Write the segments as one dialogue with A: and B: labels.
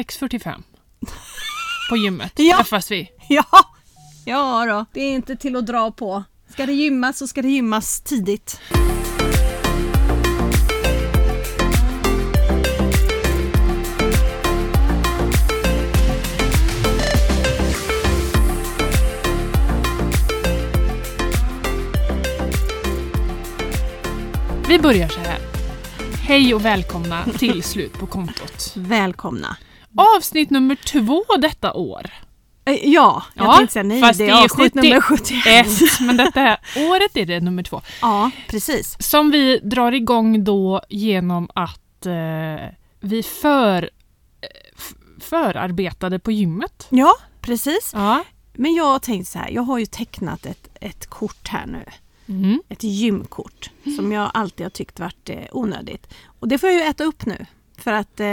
A: 6.45. På gymmet
B: Ja.
A: träffas vi.
B: Ja! Ja då, det är inte till att dra på. Ska det gymmas så ska det gymmas tidigt.
A: Vi börjar så här. Hej och välkomna till Slut på kontot.
B: Välkomna.
A: Avsnitt nummer två detta år.
B: Eh, Ja, jag
A: Ja,
B: tänkte säga nej,
A: fast
B: det
A: det är
B: är avsnitt
A: 70.
B: nummer 71.
A: Ett, men detta här, året är det nummer två.
B: Ja, precis.
A: Som vi drar igång då genom att eh, vi för, eh, f- förarbetade på gymmet.
B: Ja, precis.
A: Ja.
B: Men jag har tänkt så här, jag har ju tecknat ett, ett kort här nu.
A: Mm.
B: Ett gymkort som jag alltid har tyckt varit eh, onödigt. Och det får jag ju äta upp nu. För att eh,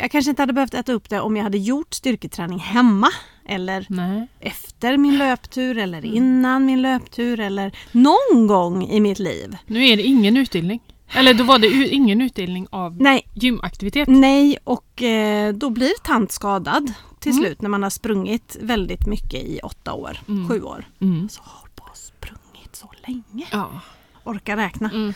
B: jag kanske inte hade behövt äta upp det om jag hade gjort styrketräning hemma. Eller
A: Nej.
B: efter min löptur eller innan min löptur eller någon gång i mitt liv.
A: Nu är det ingen utdelning. Eller då var det u- ingen utdelning av
B: Nej,
A: gymaktivitet.
B: nej och eh, då blir tant skadad till
A: Mm.
B: slut när man har sprungit väldigt mycket i åtta år,
A: Mm.
B: sju år.
A: Mm.
B: Så har på och sprungit så länge.
A: Ja,
B: Orkar räkna.
A: Mm.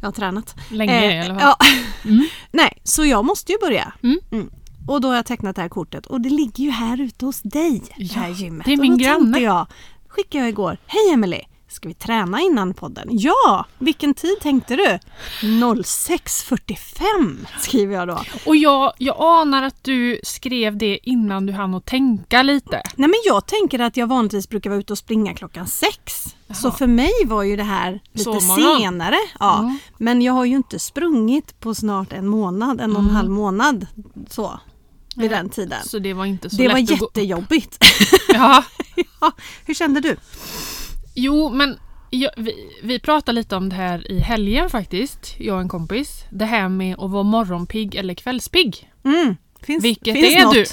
B: Jag har tränat.
A: länge
B: Eh,
A: i alla fall.
B: ja.
A: Mm.
B: Nej, så jag måste ju börja.
A: Mm.
B: Och då har jag tecknat det här kortet och det ligger ju här ute hos dig, det
A: Ja,
B: här gymmet.
A: det är
B: Och
A: min
B: då
A: granne.
B: tänkte jag, skickade jag igår, hej Emily, ska vi träna innan podden? Ja, vilken tid tänkte du? 06.45 skriver jag då.
A: Och jag, jag anar att du skrev det innan du hann att tänka lite.
B: Nej men jag tänker att jag vanligtvis brukar vara ute och springa klockan sex. Så för mig var ju det här lite
A: Sovmorgon.
B: senare. Ja.
A: Mm.
B: Men jag har ju inte sprungit på snart en månad, en och en halv månad så vid den tiden.
A: Mm. Så det var inte så
B: Det
A: lätt
B: var
A: att gå.
B: jättejobbigt.
A: Ja.
B: ja, hur kände du?
A: Jo, men jag, vi, vi pratade lite om det här i helgen faktiskt, jag och en kompis. Det här med att vara morgonpigg eller kvällspigg.
B: Mm. Finns,
A: Vilket
B: finns
A: är
B: något?
A: du?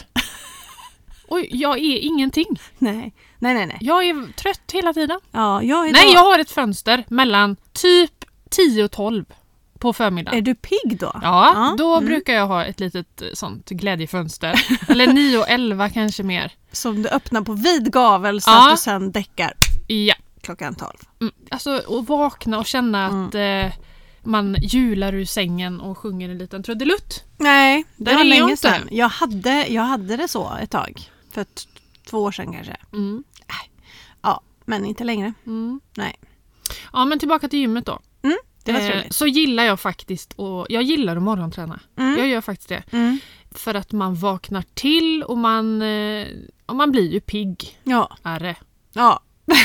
A: Oj, jag är ingenting.
B: Nej, nej, nej. nej.
A: Jag är trött hela tiden.
B: Ja, jag är
A: Nej,
B: då...
A: jag har ett fönster mellan typ 10 och 12 på förmiddagen.
B: Är du pigg då?
A: Ja,
B: Ja, Mm.
A: då brukar jag ha ett litet eh, sånt glädjefönster. Eller 9 och 11 kanske mer.
B: Som du öppnar på vid gavel så
A: Ja.
B: att du sen däckar
A: Ja.
B: klockan 12.
A: Mm. Alltså att vakna och känna
B: Mm.
A: att eh, man jular ur sängen och sjunger en liten trudelutt.
B: Nej, det
A: Där
B: var
A: är jag
B: länge
A: inte.
B: sedan. Jag hade, jag hade det så ett tag. För t- två år sedan kanske.
A: Mm.
B: Ja, men inte längre.
A: Mm.
B: Nej.
A: Ja, men tillbaka till gymmet då.
B: Mm, det var
A: Eh,
B: trevligt.
A: så gillar jag faktiskt att, jag gillar att morgonträna.
B: Mm.
A: Jag gör faktiskt det.
B: Mm.
A: För att man vaknar till och man, eh, och man blir ju pigg.
B: Ja,
A: Är det.
B: ja.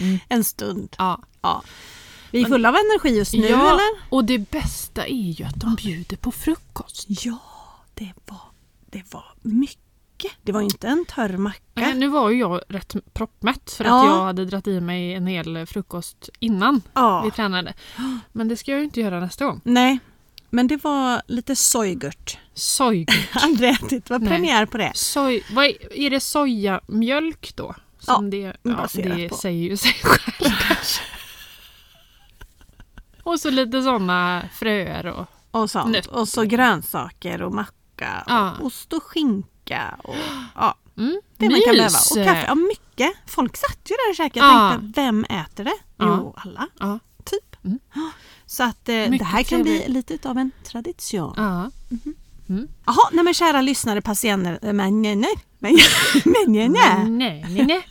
A: Mm.
B: en stund.
A: Ja.
B: Ja. Vi är fulla av energi just nu
A: ja,
B: eller?
A: och det bästa är ju att de bjuder på frukost.
B: Ja, det var, det var mycket. Det var ju inte en törr
A: Nej,
B: macka.
A: Eh, nu var ju jag rätt proppmätt för
B: Ja.
A: att jag hade dragit i mig en hel frukost innan vi
B: Ja.
A: tränade. Men det ska jag ju inte göra nästa gång.
B: Nej, men det var lite sojgurt.
A: Soj...
B: Aldrig ätit. Det var
A: Nej.
B: premiär på det.
A: soj vad är, är det sojamjölk då? Som
B: Ja,
A: det, ja,
B: baserat
A: det
B: på.
A: säger ju sig själv kanske. Och så lite såna fröer och...
B: Och sånt.
A: Nötter.
B: Och så grönsaker och macka.
A: Ja.
B: Och ost och skinka. Och, ja,
A: Mm,
B: det man
A: mys!
B: kan behöva. Och kaffe. Ja, mycket. Folk satt ju där och käkade.
A: Ja.
B: Jag tänkte, vem äter det?
A: Ja.
B: Jo, alla.
A: Ja.
B: Typ.
A: Mm.
B: Ja. Så att eh, det
A: Mycket
B: här kan bli
A: trevligt.
B: lite av en tradition.
A: Ja.
B: Jaha, nej men kära lyssnare, patienter, eh, men nej, nej, men, men eh, nej, nej.
A: Nej, nej, nej.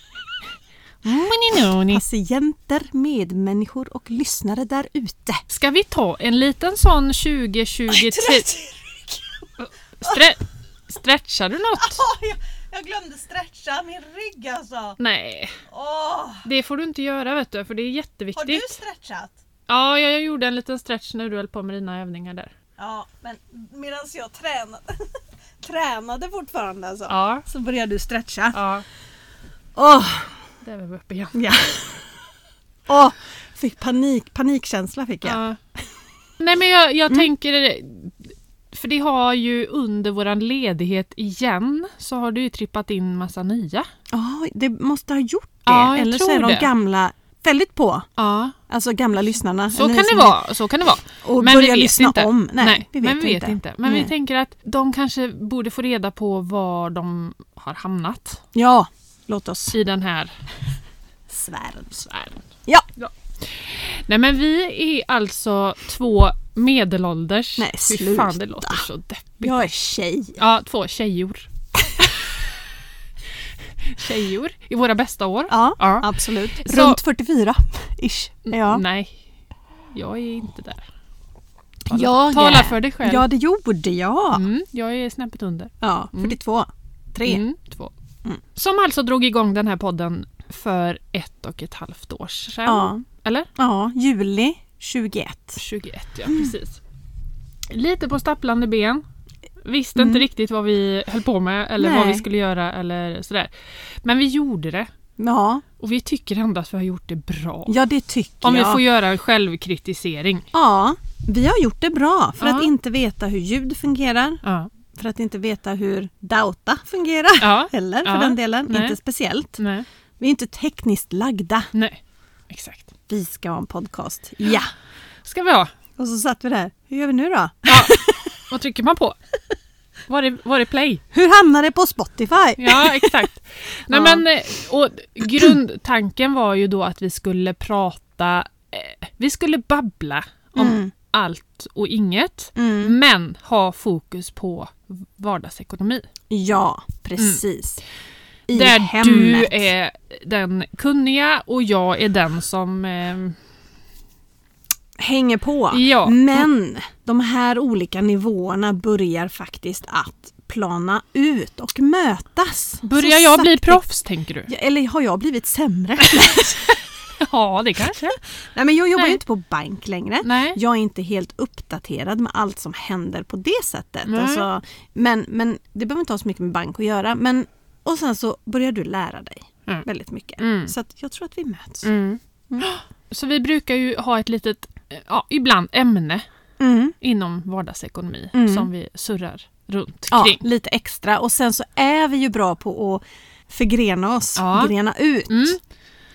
A: Moni, noni.
B: Patienter, medmänniskor och lyssnare där ute.
A: Ska vi ta en liten sån 20, 20, 30... Stre- stretchar du något?
B: jag, glömde stretcha min rygg alltså.
A: Nej, det får du inte göra vet du, för det är jätteviktigt.
B: stretchat?
A: Ja, jag gjorde en liten stretch när du höll på med dina övningar där.
B: Ja, men medan jag tränade, tränade fortfarande alltså,
A: Ja,
B: så började du stretcha.
A: ja.
B: Åh,
A: Där var vi uppe igen.
B: ja. Åh, fick panik, panikkänsla fick jag.
A: Ja. Nej men jag, jag
B: Mm.
A: tänker, för det har ju under våran ledighet igen så har du ju trippat in massa nya.
B: Ja, det måste ha gjort det.
A: Ja, jag
B: Eller så
A: tror
B: är de
A: det.
B: gamla väldigt på.
A: Ja,
B: Alltså gamla lyssnarna.
A: så
B: eller
A: kan
B: ni
A: det
B: som-
A: vara. Så kan det vara.
B: Och
A: Men vi
B: börja
A: vet
B: lyssna
A: inte.
B: om. Nej, vi vet
A: men vi vet
B: inte.
A: inte. Men
B: Nej.
A: vi tänker att de kanske borde få reda på var de har hamnat
B: Ja, låt oss.
A: i den här
B: Svärm.
A: sfären.
B: Ja.
A: Nej men vi är alltså två medelålders.
B: Nej,
A: Fy fan
B: sluta.
A: det låter så deppigt.
B: Jag är tjej.
A: Ja, två tjejor. tjejor i våra bästa år.
B: Ja,
A: Ja.
B: absolut.
A: Så- Mm.
B: Runt 44 ish. Ja.
A: Nej, jag är inte där.
B: Jag
A: Tala
B: är-
A: för dig själv.
B: ja, det gjorde jag.
A: Mm, jag är snäppet under.
B: Ja, 42. 3.
A: Mm, två. Som alltså drog igång den här podden för ett och ett halvt år sedan.
B: Ja.
A: Eller?
B: ja, juli 21.
A: 21, ja precis. Lite på stapplande ben. Visste inte riktigt vad vi höll på med eller vad
B: Mm. Nej.
A: vi skulle göra eller sådär. Men vi gjorde det.
B: Ja,
A: Och vi tycker ändå att vi har gjort det bra.
B: ja det tycker
A: Om vi
B: jag.
A: får göra en självkritisering.
B: Ja, vi har gjort det bra för
A: Ja.
B: att inte veta hur ljud fungerar,
A: Ja.
B: för att inte veta hur Dauta fungerar
A: ja.
B: heller för
A: Ja,
B: den delen.
A: nej.
B: Inte speciellt.
A: Nej.
B: Vi är inte tekniskt lagda.
A: Nej. Exakt.
B: Vi ska ha en podcast. Ja!
A: Ska vi ha.
B: Och så satt vi där. Hur gör vi nu då?
A: Ja. Vad trycker man på? Var är, var är play?
B: Hur hamnar det på Spotify?
A: Ja, exakt. Nej,
B: Ja.
A: men, eh, och grundtanken var ju då att vi skulle prata, eh, vi skulle babbla om
B: Mm.
A: allt och inget,
B: Mm.
A: men ha fokus på vardagsekonomi.
B: Ja, precis. I
A: Mm. där
B: hemmet.
A: du är den kunniga och jag är den som... Eh,
B: hänger på.
A: Ja.
B: Men de här olika nivåerna börjar faktiskt att plana ut och mötas.
A: börjar
B: Så
A: jag bli
B: sakta-
A: proffs, tänker du?
B: Ja, Eller har jag blivit sämre?
A: Ja, det kanske.
B: Nej men jag jobbar
A: Nej.
B: ju inte på bank längre.
A: Nej.
B: Jag är inte helt uppdaterad med allt som händer på det sättet.
A: Nej.
B: Alltså, men, men det behöver inte ha så mycket med bank att göra. Men, och sen så börjar du lära dig
A: Mm.
B: väldigt mycket.
A: Mm.
B: Så att jag tror att vi möts.
A: Mm. Så vi brukar ju ha ett litet, eh, ja, ibland ämne
B: Mm.
A: inom vardagsekonomi
B: Mm.
A: som vi surrar runt
B: Ja,
A: kring.
B: lite extra. Och sen så är vi ju bra på att förgrena oss,
A: Ja.
B: grena ut.
A: Mm.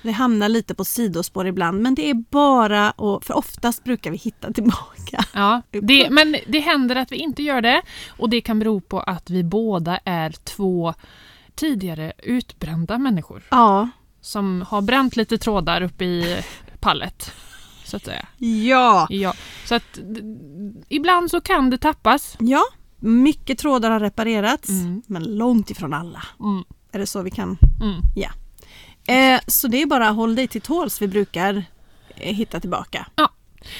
B: Det hamnar lite på sidospår ibland men det är bara att, för oftast brukar vi hitta tillbaka.
A: Ja, det, men det händer att vi inte gör det och det kan bero på att vi båda är två tidigare utbrända människor
B: Ja.
A: som har bränt lite trådar uppe i pallet. Så att säga.
B: Ja.
A: Ja, så att d- ibland så kan det tappas.
B: Ja, mycket trådar har reparerats
A: Mm.
B: men långt ifrån alla.
A: Mm.
B: Är det så vi kan?
A: Mm.
B: Ja. Eh, så det är bara håll dig till tåls, vi brukar eh, hitta tillbaka.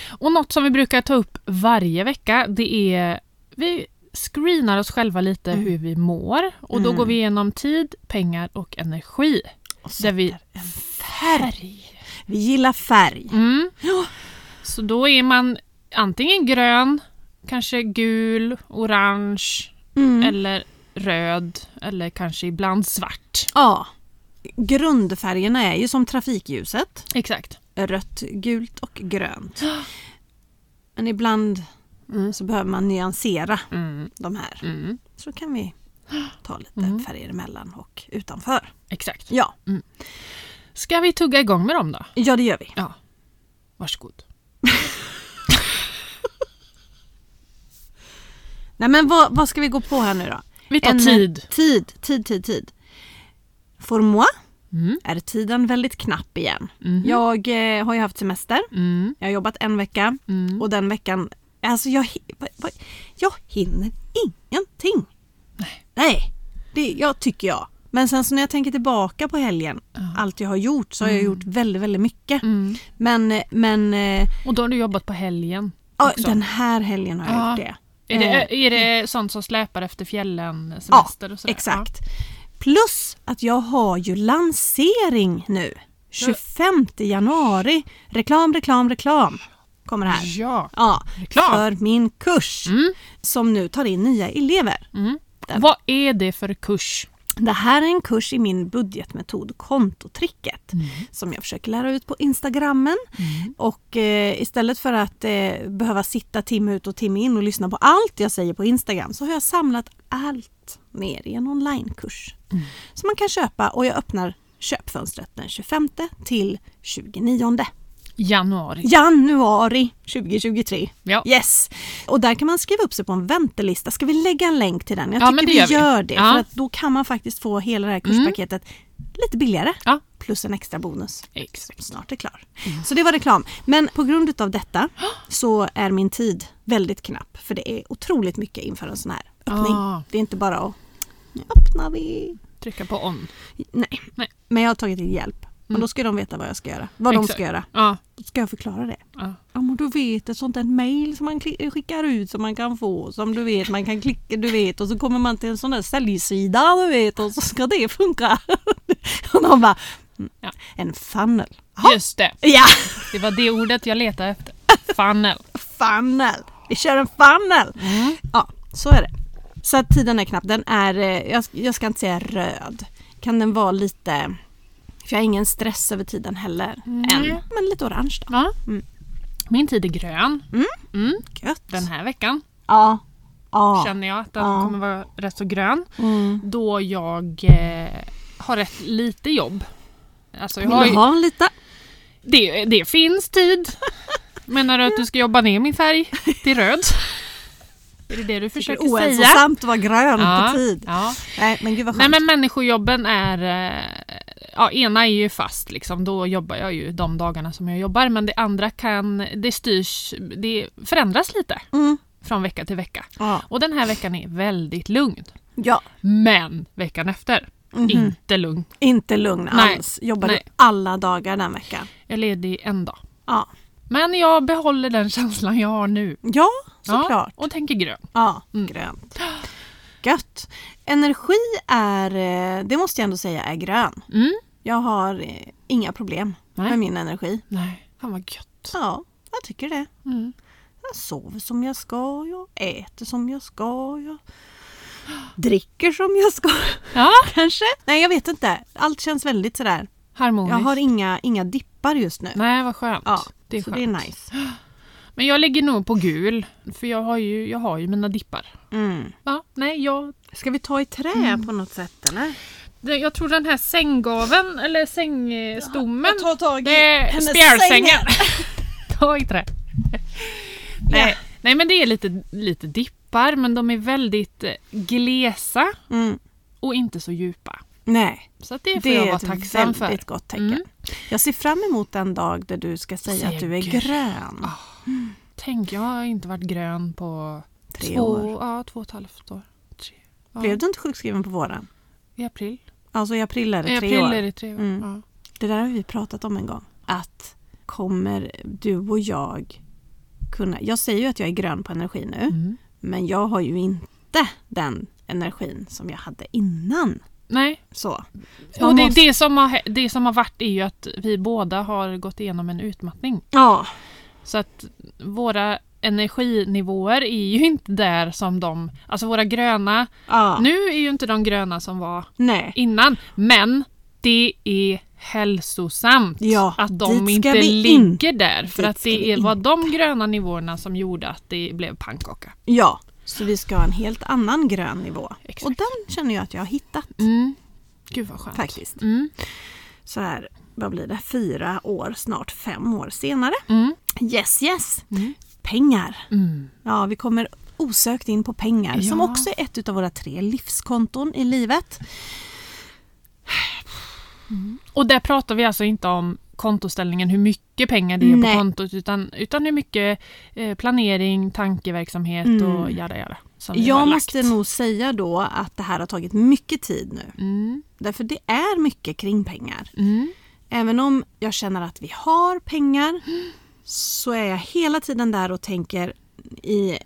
A: Och något som vi brukar ta upp varje vecka det är vi screenar oss själva lite
B: Mm.
A: hur vi mår och då går vi igenom tid, pengar och energi. Där vi färg.
B: Vi gillar färg.
A: Mm.
B: Ja.
A: Så då är man antingen grön, kanske gul, orange
B: Mm.
A: eller röd eller kanske ibland svart.
B: Ja. Grundfärgerna är ju som trafikljuset.
A: Exakt.
B: Rött, gult och grönt. Men ibland
A: Mm.
B: så behöver man nyansera
A: Mm,
B: de här.
A: mm,
B: Så kan vi ta lite
A: Mm.
B: färger emellan och utanför.
A: exakt.
B: Ja,
A: Ska vi tugga igång med dem då?
B: ja det gör vi.
A: Ja. Varsågod.
B: Nej men vad, vad ska vi gå på här nu då?
A: Vi tar
B: En-
A: tid.
B: Tid, tid, tid, tid. För moi
A: Mm,
B: är tiden väldigt knapp igen.
A: Mhm.
B: Jag eh, har ju haft semester.
A: mm,
B: Jag har jobbat en vecka
A: mm.
B: och den veckan, alltså jag, hi- vad- vad- jag hinner ingenting. Nej. Nej, det jag tycker jag. Men sen så när jag tänker tillbaka på helgen, allt jag har gjort så har jag gjort väldigt, väldigt mycket.
A: Mm.
B: Men, eh, men eh,
A: Och då har du jobbat på helgen.
B: ja,
A: också.
B: den här helgen har jag
A: Ja.
B: gjort det.
A: Är det,
B: Eh,
A: är det sånt som släpar efter fjällen, semester och sådär?
B: mm. Exakt. Plus att jag har ju lansering nu. 25 januari. Reklam, reklam, reklam kommer
A: Ja.
B: här.
A: ja.
B: Ja,
A: Reklam.
B: för min kurs
A: Mm.
B: som nu tar in nya elever.
A: Mm.
B: Den.
A: Vad är det för kurs?
B: Det här är en kurs i min budgetmetod kontotricket som jag försöker lära ut på Instagrammen. Och eh, istället för att eh, behöva sitta timme ut och timme in och lyssna på allt jag säger på Instagram så har jag samlat allt ner i en onlinekurs som man kan köpa och jag öppnar köpfönstret den 25 till 29
A: Januari.
B: januari 2023.
A: Ja.
B: Yes! Och där kan man skriva upp sig på en väntelista. Ska vi lägga en länk till den? Jag
A: Ja,
B: tycker
A: men det
B: vi
A: gör vi.
B: gör det.
A: Ja. Mm.
B: För att då kan man faktiskt få hela det här kurspaketet lite billigare.
A: Ja. Mm.
B: Plus en extra bonus
A: Exakt.
B: som snart är klar. Så det var reklam. Men på grund utav detta så är min tid väldigt knapp. För det är otroligt mycket inför en sån här öppning.
A: Ah.
B: Det är inte bara att nu öppnar vi.
A: Trycka på on.
B: Nej.
A: Nej.
B: Men jag har tagit in hjälp. Och
A: Mm.
B: då ska de veta vad jag ska göra. Vad de
A: Exakt.
B: ska göra.
A: Ja.
B: Då ska jag förklara det.
A: ja.
B: Ja men du vet ett sånt där mail som man kli- skickar ut som man kan få som du vet man kan klicka du vet och så kommer man till en sån där säljsida du vet och så ska det funka. Och de bara mm,
A: Ja.
B: En funnel.
A: Just det.
B: Ja!
A: Det var det ordet jag letade efter. Funnel.
B: Funnel! Vi kör en funnel! Ja, så är det. Så att tiden är knapp. Den är, eh, jag, jag ska inte säga röd. Kan den vara lite, för jag har ingen stress över tiden heller.
A: Mm.
B: Än. Men lite orange då.
A: Ja. Min tid är grön
B: Mm.
A: Mm.
B: Gött.
A: den här veckan.
B: Ja. Ja.
A: Känner jag att den
B: Ja.
A: kommer vara rätt så grön.
B: Mm.
A: Då jag eh, har rätt lite jobb. Alltså jag har
B: Vill
A: ju,
B: du ha en liten?
A: det, det finns tid. Menar du att du ska jobba ner min färg till röd? Är det det du
B: Det är
A: försöker säga?
B: ohälsosamt att vara grön på tid.
A: ja.
B: Nej men gud vad
A: Nej men
B: skönt.
A: människojobben är... eh, Ja, ena är ju fast liksom, då jobbar jag ju de dagarna som jag jobbar. Men det andra kan, det styrs, det förändras lite
B: Mm.
A: från vecka till vecka.
B: Ja.
A: Och den här veckan är väldigt lugn.
B: ja,
A: Men veckan efter,
B: Mhm.
A: inte lugn.
B: inte lugn
A: Nej.
B: alls. Jobbar
A: Nej.
B: du alla dagar den veckan?
A: Jag är ledig en dag.
B: Ja,
A: Men jag behåller den känslan jag har nu.
B: ja
A: Ja,
B: såklart.
A: och tänker grön.
B: Ja,
A: Mm.
B: grönt. Gött. Energi är, eh, det måste jag ändå säga, är grön.
A: Mm.
B: Jag har eh, inga problem
A: Nej.
B: med min energi.
A: Nej, fan vad gött.
B: Ja, jag tycker det.
A: Mm.
B: Jag sover som jag ska, jag äter som jag ska, jag dricker som jag ska
A: Ja,
B: kanske. Nej, jag vet inte. Allt känns väldigt sådär
A: harmoniskt.
B: Jag har inga, inga dippar just nu.
A: Nej, vad skönt.
B: Ja,
A: det är
B: så
A: skönt.
B: det är nice.
A: Men jag ligger nog på gul, för jag har ju, jag har ju mina dippar.
B: Mm.
A: Ja, nej, jag,
B: Ska vi ta i trä
A: Mm.
B: på något sätt eller?
A: det- jag tror den här sänggaven, eller sängstommen,
B: Ta tag
A: det är
B: hennes
A: spjälsängen.
B: säng.
A: Ta i trä. Nej, nej, men det är lite, lite dippar, men de är väldigt eh, glesa
B: Mm.
A: och inte så djupa.
B: Nej,
A: Så att det får
B: det
A: jag
B: är
A: vara
B: ett väldigt
A: tacksam för.
B: gott tecken.
A: Mm.
B: Jag ser fram emot den dag där du ska säga
A: Säger
B: att du är
A: Gud.
B: grön.
A: Tänk, jag har inte varit grön på
B: Tre
A: två,
B: år.
A: Ja, två och ett halvt år. Tre. Ja,
B: Blev du inte sjukskriven på våren?
A: I april.
B: Alltså i april är det
A: I
B: tre
A: april
B: år.
A: är det tre år.
B: Mm.
A: Ja.
B: Det där har vi pratat om en gång. Att kommer du och jag kunna... Jag säger ju att jag är grön på energi nu.
A: Mm.
B: Men jag har ju inte den energin som jag hade innan.
A: Nej,
B: Så.
A: Och
B: Man
A: det,
B: måste-
A: det, som har, hä- det som har varit är ju att vi båda har gått igenom en utmattning.
B: Ja,
A: Så att våra energinivåer är ju inte där som de... Alltså våra gröna...
B: ja.
A: Nu är ju inte de gröna som var
B: nej.
A: innan. Men det är hälsosamt
B: Ja,
A: att
B: dit
A: de
B: ska
A: inte
B: vi
A: ligger där. För
B: Dit
A: att
B: ska vi
A: det är, var de gröna nivåerna som gjorde att det blev pannkaka.
B: Ja, så vi ska ha en helt annan grön nivå.
A: Exakt.
B: Och den känner jag att jag har hittat
A: Mm. Gud vad skönt.
B: faktiskt.
A: Mm.
B: Så här, vad blir det? Fyra år, snart fem år senare.
A: Mm.
B: Yes, yes!
A: Mm.
B: Pengar.
A: Mm.
B: Ja, vi kommer osökt in på pengar som
A: Ja.
B: också är ett av våra tre livskonton i livet.
A: Och där pratar vi alltså inte om kontoställningen, hur mycket pengar det är
B: Nej.
A: på kontot, utan, utan hur mycket eh, planering, tankeverksamhet och jada jada. Som vi har
B: Mm. Jag
A: lagt.
B: måste nog säga då att det här har tagit mycket tid nu.
A: Mm,
B: Därför det är mycket kring pengar.
A: mm,
B: Även om jag känner att vi har pengar så är jag hela tiden där och tänker i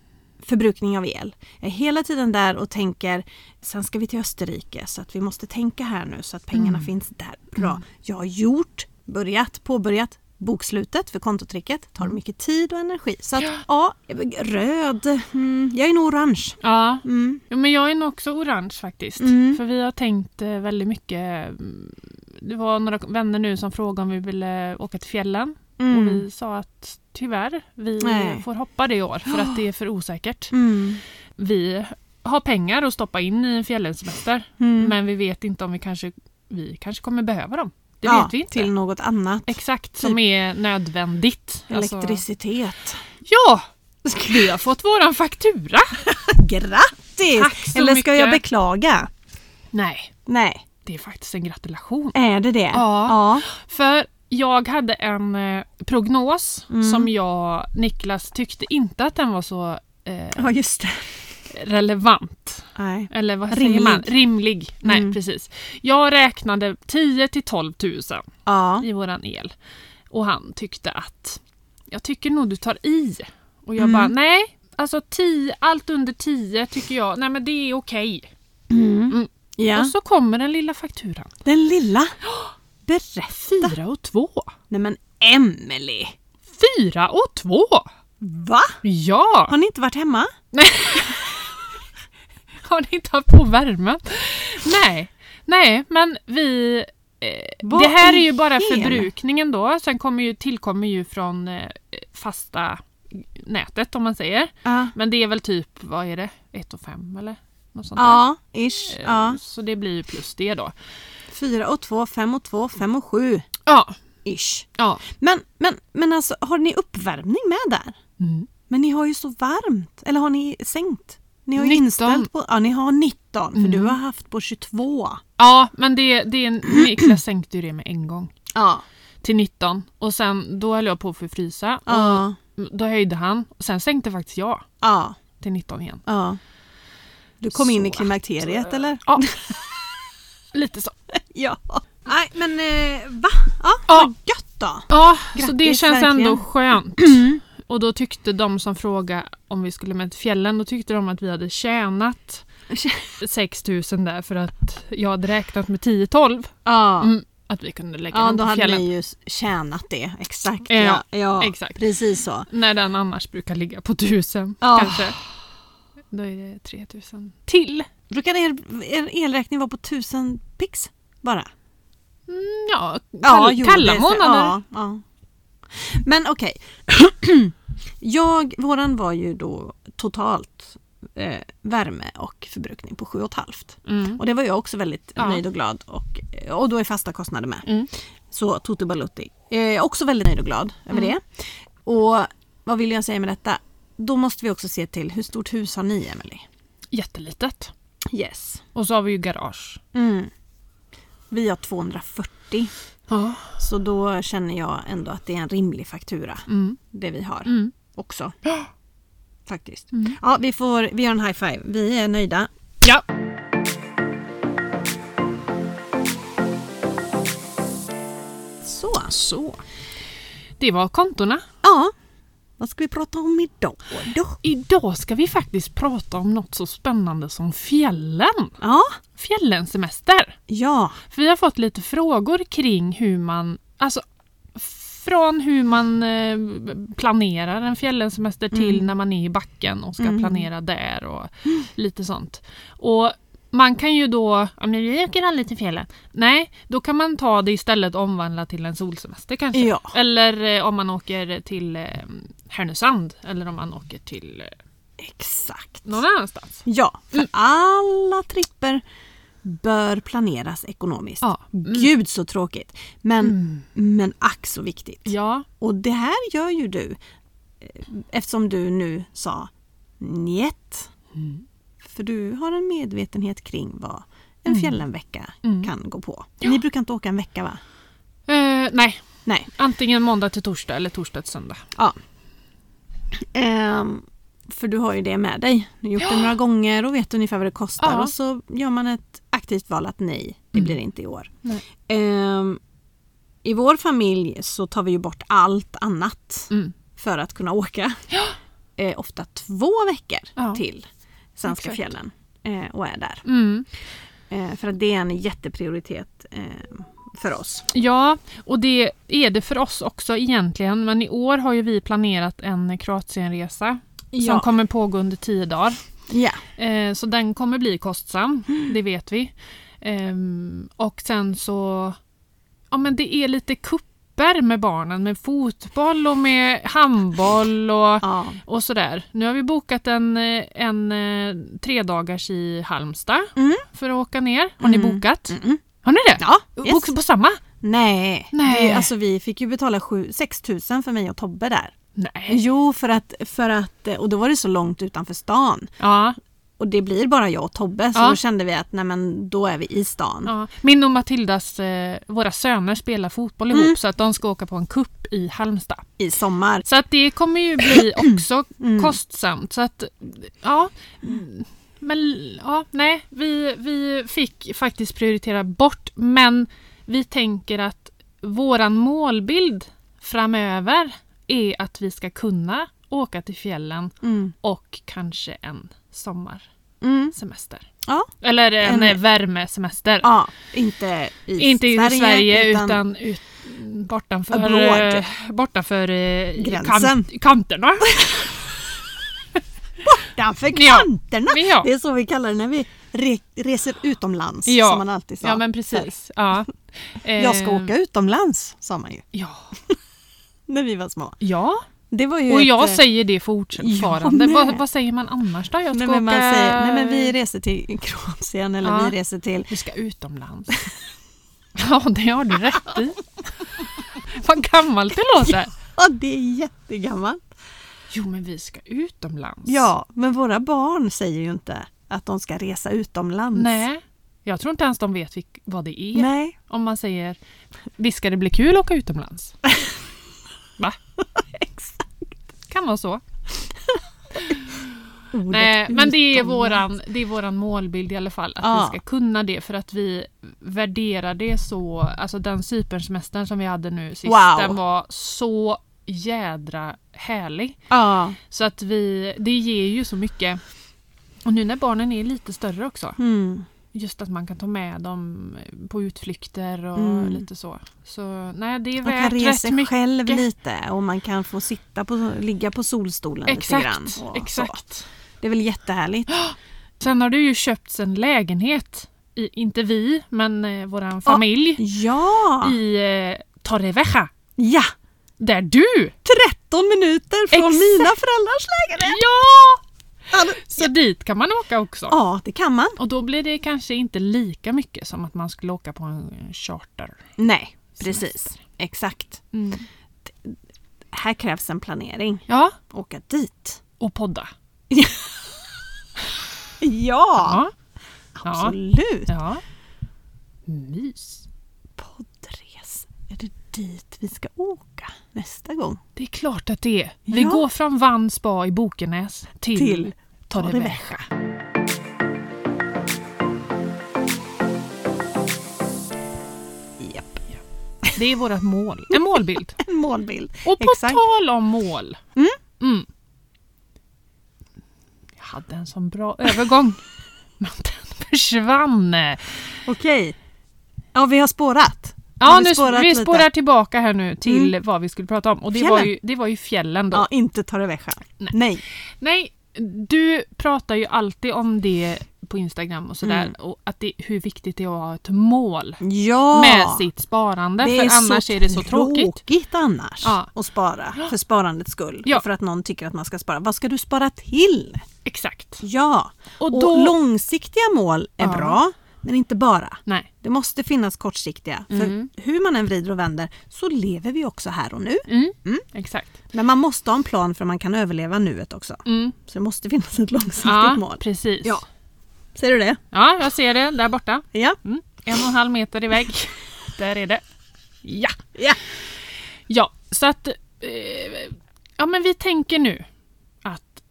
B: förbrukning av el. Jag är hela tiden där och tänker, sen ska vi till Österrike så att vi måste tänka här nu så att pengarna
A: Mm.
B: finns där. Bra. Jag har gjort, börjat, påbörjat bokslutet för kontotricket.
A: Mm.
B: Tar mycket tid och energi. Så att ja, röd. Mm, jag är nog orange.
A: ja.
B: Mm.
A: Jo, men jag är nog också orange faktiskt. För vi har tänkt eh, väldigt mycket. mm, Det var några vänner nu som frågade om vi ville åka till fjällen.
B: Mm.
A: Och vi sa att tyvärr, vi
B: Nej.
A: får hoppa det i år för att det är för osäkert.
B: Mm. Mm.
A: Vi har pengar att stoppa in i en fjällsemester. Men vi vet inte om vi kanske vi kanske kommer behöva dem. Det
B: ja,
A: vet vi inte.
B: Till något annat.
A: Exakt, som är nödvändigt. Alltså-
B: Elektricitet.
A: ja! Vi har fått våran faktura.
B: Grattis!
A: Tack så
B: Eller ska jag
A: mycket.
B: beklaga?
A: Nej,
B: Nej,
A: det är faktiskt en gratulation.
B: är det det?
A: Ja.
B: Äh, ja.
A: För jag hade en eh, prognos
B: Mm.
A: som jag, Niklas, tyckte inte att den var så eh,
B: Ja, just det.
A: relevant.
B: Nej.
A: Eller vad
B: Rimlig.
A: säger man? Rimlig. Nej,
B: Mm.
A: precis. Jag räknade 10 till 12 000
B: Ja.
A: i våran el. Och han tyckte att jag tycker nog du tar i. Och jag
B: Mm.
A: bara nej, alltså 10, allt under 10 tycker jag, nej men det är okej. Mm.
B: ja.
A: Och så kommer den lilla fakturan.
B: Den lilla. Berätta.
A: 4 och 2.
B: Nej men Emelie.
A: 4 och 2.
B: Va?
A: Ja!
B: Har ni inte varit hemma?
A: Har ni inte haft på värmen? Nej, nej men vi... Eh,
B: Vad
A: det här
B: i
A: är ju bara
B: hel-
A: förbrukningen då. Sen kommer ju, tillkommer ju från eh, fasta nätet om man säger.
B: Ja.
A: Men det är väl typ, vad är det? 1 och 5 eller? Något sånt där.
B: Ja, ish.
A: Eh,
B: Ja.
A: Så det blir ju plus det då.
B: Fyra och två, fem och två, fem och sju.
A: Ja.
B: Ish.
A: ja.
B: Men, men, men alltså, har ni uppvärmning med där?
A: Mm.
B: Men ni har ju så varmt. Eller har ni sänkt? Ni har ju
A: 19.
B: inställt på... Ja, ni har 19. För du har haft på 22.
A: Ja, men det, det är en, Niklas sänkte ju det med en gång.
B: Ja.
A: Till 19. Och sen då höll jag på att förfrysa.
B: Ja.
A: Och då höjde han. Och sen sänkte faktiskt jag
B: Ja.
A: till 19 igen.
B: ja. Du kom in i
A: Så att,
B: klimakteriet eller?
A: Ja. Lite så.
B: eh, Ja. Nej men eh, va? Ja,
A: Ja.
B: vad gött då.
A: Ja, så
B: Grattis,
A: det känns
B: verkligen.
A: ändå skönt. Och då tyckte de som frågade om vi skulle med till fjällen, då tyckte de att vi hade tjänat 6 000 där för att jag hade räknat med 10-12.
B: Ja.
A: Mm, att vi kunde lägga
B: Ja,
A: dem
B: då
A: på
B: hade
A: fjällen.
B: ni ju tjänat det. Exakt.
A: Ja,
B: Ja, ja,
A: exakt.
B: precis så.
A: När den annars brukar ligga på 1000
B: Ja.
A: kanske. Då är det 3000 till.
B: Brukar er, er elräkning vara på 1000 pix bara?
A: Ja, kall,
B: jo,
A: kalla
B: det är så-
A: månader.
B: Ja, ja. Men okej. Jag, våran var ju då totalt eh, värme och förbrukning på 7,5.
A: Mm.
B: Och det var jag också väldigt
A: Ja.
B: nöjd och glad och, och då är fasta kostnader med.
A: Mm.
B: Så Tutu Balutti. Eh, Jag är också väldigt nöjd och glad över det. Och vad vill jag säga med detta? Då måste vi också se till hur stort hus har ni Emelie?
A: Jättelitet.
B: Yes.
A: Och så har vi ju garage.
B: Mm. Vi har 240
A: Ja.
B: så då känner jag ändå att det är en rimlig faktura
A: Mm.
B: det vi har
A: Mm.
B: också. Faktiskt. Ja, vi, får, vi gör en high five. Vi är nöjda.
A: Ja.
B: Så.
A: Så. Det var kontona.
B: Ja. Vad ska vi prata om idag då?
A: Idag ska vi faktiskt prata om något så spännande som fjällen.
B: Ja.
A: Fjällens semester.
B: Ja.
A: För vi har fått lite frågor kring hur man, alltså från hur man eh, planerar en fjällensemester till när man är i backen och ska planera där och lite sånt. Och man kan ju då, ja men vi åker aldrig till fjällen. Nej, då kan man ta det istället och omvandla till en solsemester kanske.
B: Ja.
A: Eller eh, om man åker till eh, Härnösand eller om man åker till eh,
B: Exakt.
A: någon annanstans.
B: Ja, för
A: Mm.
B: alla tripper bör planeras ekonomiskt.
A: Ja. Mm.
B: Gud så tråkigt! Men, men ack så viktigt.
A: Ja,
B: Och det här gör ju du eh, eftersom du nu sa njet. Mm. För du har en medvetenhet kring vad en
A: Mm.
B: fjällenvecka kan gå på. Ni brukar inte åka en vecka va?
A: eh, nej.
B: Nej.
A: Antingen måndag till torsdag eller torsdag till söndag.
B: Ja. Ehm, för du har ju det med dig. Du har gjort det några gånger och vet ungefär vad det kostar.
A: Ja. Mm.
B: Och så gör man ett aktivt val att nej, det blir det inte i år.
A: Nej.
B: Ehm, I vår familj så tar vi ju bort allt annat
A: Mm.
B: för att kunna åka. Eh, ofta två veckor
A: Ja.
B: till Svenska
A: Exakt.
B: fjällen eh, och är där.
A: Mm.
B: Eh, för att det är en jätteprioritet eh, för oss.
A: Ja, och det är det för oss också egentligen. Men i år har ju vi planerat en Kroatienresa som kommer pågå under tio dagar.
B: ja.
A: Eh, så den kommer bli kostsam,
B: Mm.
A: det vet vi. Ehm, och sen så... Ja, men det är lite kupper med barnen, med fotboll och med handboll och,
B: Ja.
A: och sådär. Nu har vi bokat en, eh, en eh, tre dagars i Halmstad
B: Mm.
A: för att åka ner. Har ni
B: Mm.
A: bokat?
B: Mm-mm.
A: Har ni det?
B: Ja, yes.
A: På, på samma?
B: Nej,
A: Nej.
B: Det, alltså vi fick ju betala 6 000 för mig och Tobbe där.
A: Nej.
B: Jo, för att, för att, eh, och då var det så långt utanför stan.
A: Ja,
B: Och det blir bara jag och Tobbe, så
A: Ja.
B: då kände vi att nej men då är vi i stan.
A: ja. Min och Matildas, eh, våra söner spelar fotboll ihop
B: Mm.
A: så att de ska åka på en kupp i Halmstad.
B: I sommar. Mm,
A: Så att det kommer ju bli också kostsamt. Så att, ja. Men ja, nej, vi, vi fick faktiskt prioritera bort. Men vi tänker att våran målbild framöver är att vi ska kunna åka till fjällen
B: Mm.
A: och kanske en sommarsemester.
B: Mm. Ja.
A: Eller en,
B: En-
A: värmesemester.
B: ja, inte i
A: Inte i
B: Sverige,
A: Sverige utan, ut, bortanför,
B: Abroad.
A: eh, bortanför eh,
B: Gränsen.
A: Kant, kanterna.
B: utanför
A: Ja.
B: kanterna.
A: Ja.
B: Det är så vi kallar det när vi re, reser utomlands,
A: Ja.
B: som man alltid sa.
A: Ja men precis. Ja. Eh,
B: Jag ska åka utomlands, sa man ju
A: Ja.
B: när vi var små.
A: ja.
B: Det var ju
A: Och
B: ett,
A: jag
B: eh,
A: säger det fortfarande.
B: Ja, nej.
A: vad, vad säger man annars då? Jag ska
B: Nej men, man
A: åka...
B: säger, nej men vi reser till Kroatien eller
A: Ja.
B: vi reser till...
A: Vi ska utomlands. ja det har du rätt i. vad gammalt det låter.
B: Ja, det är jättegammalt.
A: Jo men vi ska utomlands.
B: Ja, men våra barn säger ju inte att de ska resa utomlands.
A: Nej. Jag tror inte ens de vet vilk- vad det är.
B: Nej.
A: Om man säger Visst ska det bli kul att åka utomlands? Va?
B: Exakt.
A: Kan vara så.
B: Ordet
A: Nej, men det är,
B: utomlands.
A: våran, det är våran målbild i alla fall. Att
B: Ja.
A: vi ska kunna det för att vi värderar det så. Alltså den Cypernsemestern som vi hade nu sist.
B: Wow.
A: Den var så jädra härlig.
B: Ja.
A: Så att vi, det ger ju så mycket. Och nu när barnen är lite större också.
B: Mm.
A: Just att man kan ta med dem på utflykter och
B: Mm.
A: lite så. Så nej, det är
B: Man kan
A: värt
B: resa
A: rätt mycket.
B: själv lite och man kan få sitta på, ligga på solstolen lite grann.
A: Exakt,
B: och Så.
A: exakt.
B: Det är väl jättehärligt.
A: Sen har du ju köpt en lägenhet, i, inte vi, men eh, våran familj,
B: Ja!
A: i eh, Torrevieja.
B: Ja!
A: Där du!
B: 13 minuter från
A: Exakt.
B: mina föräldrars lägenhet!
A: Ja!
B: Ja, men-
A: Så dit kan man åka också.
B: Ja, det kan man.
A: Och då blir det kanske inte lika mycket som att man skulle åka på en charter.
B: Nej, precis. Exakt.
A: Mm.
B: Här krävs en planering.
A: Ja,
B: Åka dit.
A: och podda.
B: Ja!
A: Ja. Ja.
B: Absolut!
A: ja. Mys.
B: Poddres. Är det dit vi ska åka nästa gång?
A: Det är klart att det är. Vi
B: Ja.
A: går från Vann spa i Bokenäs till,
B: Till
A: Torrevieja.
B: Japp.
A: Det är vårt mål. En målbild.
B: En målbild.
A: Och på
B: Exakt.
A: tal om mål.
B: Mm.
A: Mm. Jag hade en sån bra övergång. Men den försvann.
B: Okej. Ja, vi har spårat.
A: Ja,
B: Har vi
A: nu,
B: spårat
A: vi
B: lite? Mm.
A: spårar tillbaka här nu till vad vi skulle prata om. Och det var,
B: Fjällen.
A: ju, det var ju fjällen då.
B: Ja, inte Torrevieja. Nej. Nej.
A: Nej, du pratar ju alltid om det på Instagram och sådär.
B: Mm.
A: Och att det, hur viktigt det är att ha ett mål
B: Ja!
A: med sitt sparande.
B: Det
A: För
B: är
A: annars
B: så
A: är det så tråkigt.
B: tråkigt annars
A: Ja.
B: att spara för sparandets skull.
A: Ja.
B: Och för att någon tycker att man ska spara. Vad ska du spara till?
A: Exakt.
B: Ja,
A: Och
B: och,
A: då-
B: långsiktiga mål är
A: Ja.
B: bra, men inte bara.
A: Nej.
B: Det måste finnas kortsiktiga.
A: Mm.
B: För hur man än vrider och vänder så lever vi också här och nu.
A: Mm.
B: Mm.
A: Exakt.
B: Men man måste ha en plan för man kan överleva nuet också.
A: Mm.
B: Så det måste finnas ett långsiktigt
A: Ja,
B: mål.
A: precis.
B: Ja. Ser du det?
A: Ja, jag ser det där borta.
B: Ja.
A: Mm. En och en halv meter iväg. Där är det. Ja!
B: Ja.
A: Ja, så att... Eh, ja, men vi tänker nu att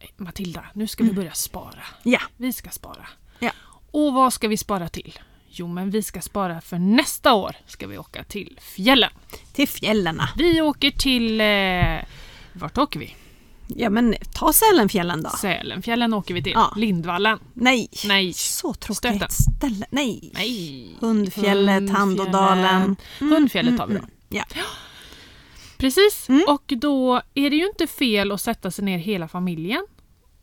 A: eh, Matilda, nu ska vi börja spara.
B: Ja.
A: Vi ska spara.
B: Mm. Ja.
A: Och vad ska vi spara till? Jo, men vi ska spara för nästa år ska vi åka till fjällen.
B: Till fjällarna.
A: Vi åker till... Eh, vart åker vi?
B: Ja men ta Sälenfjällen då.
A: Sälenfjällen åker vi till.
B: Ja.
A: Lindvallen.
B: Nej.
A: Nej.
B: Så tråkigt
A: Stöten.
B: ställe. Nej.
A: Nej.
B: Hundfjället, Tandådalen.
A: Hundfjället tar vi då.
B: Mm, Ja.
A: Precis,
B: Mm.
A: och då är det ju inte fel att sätta sig ner hela familjen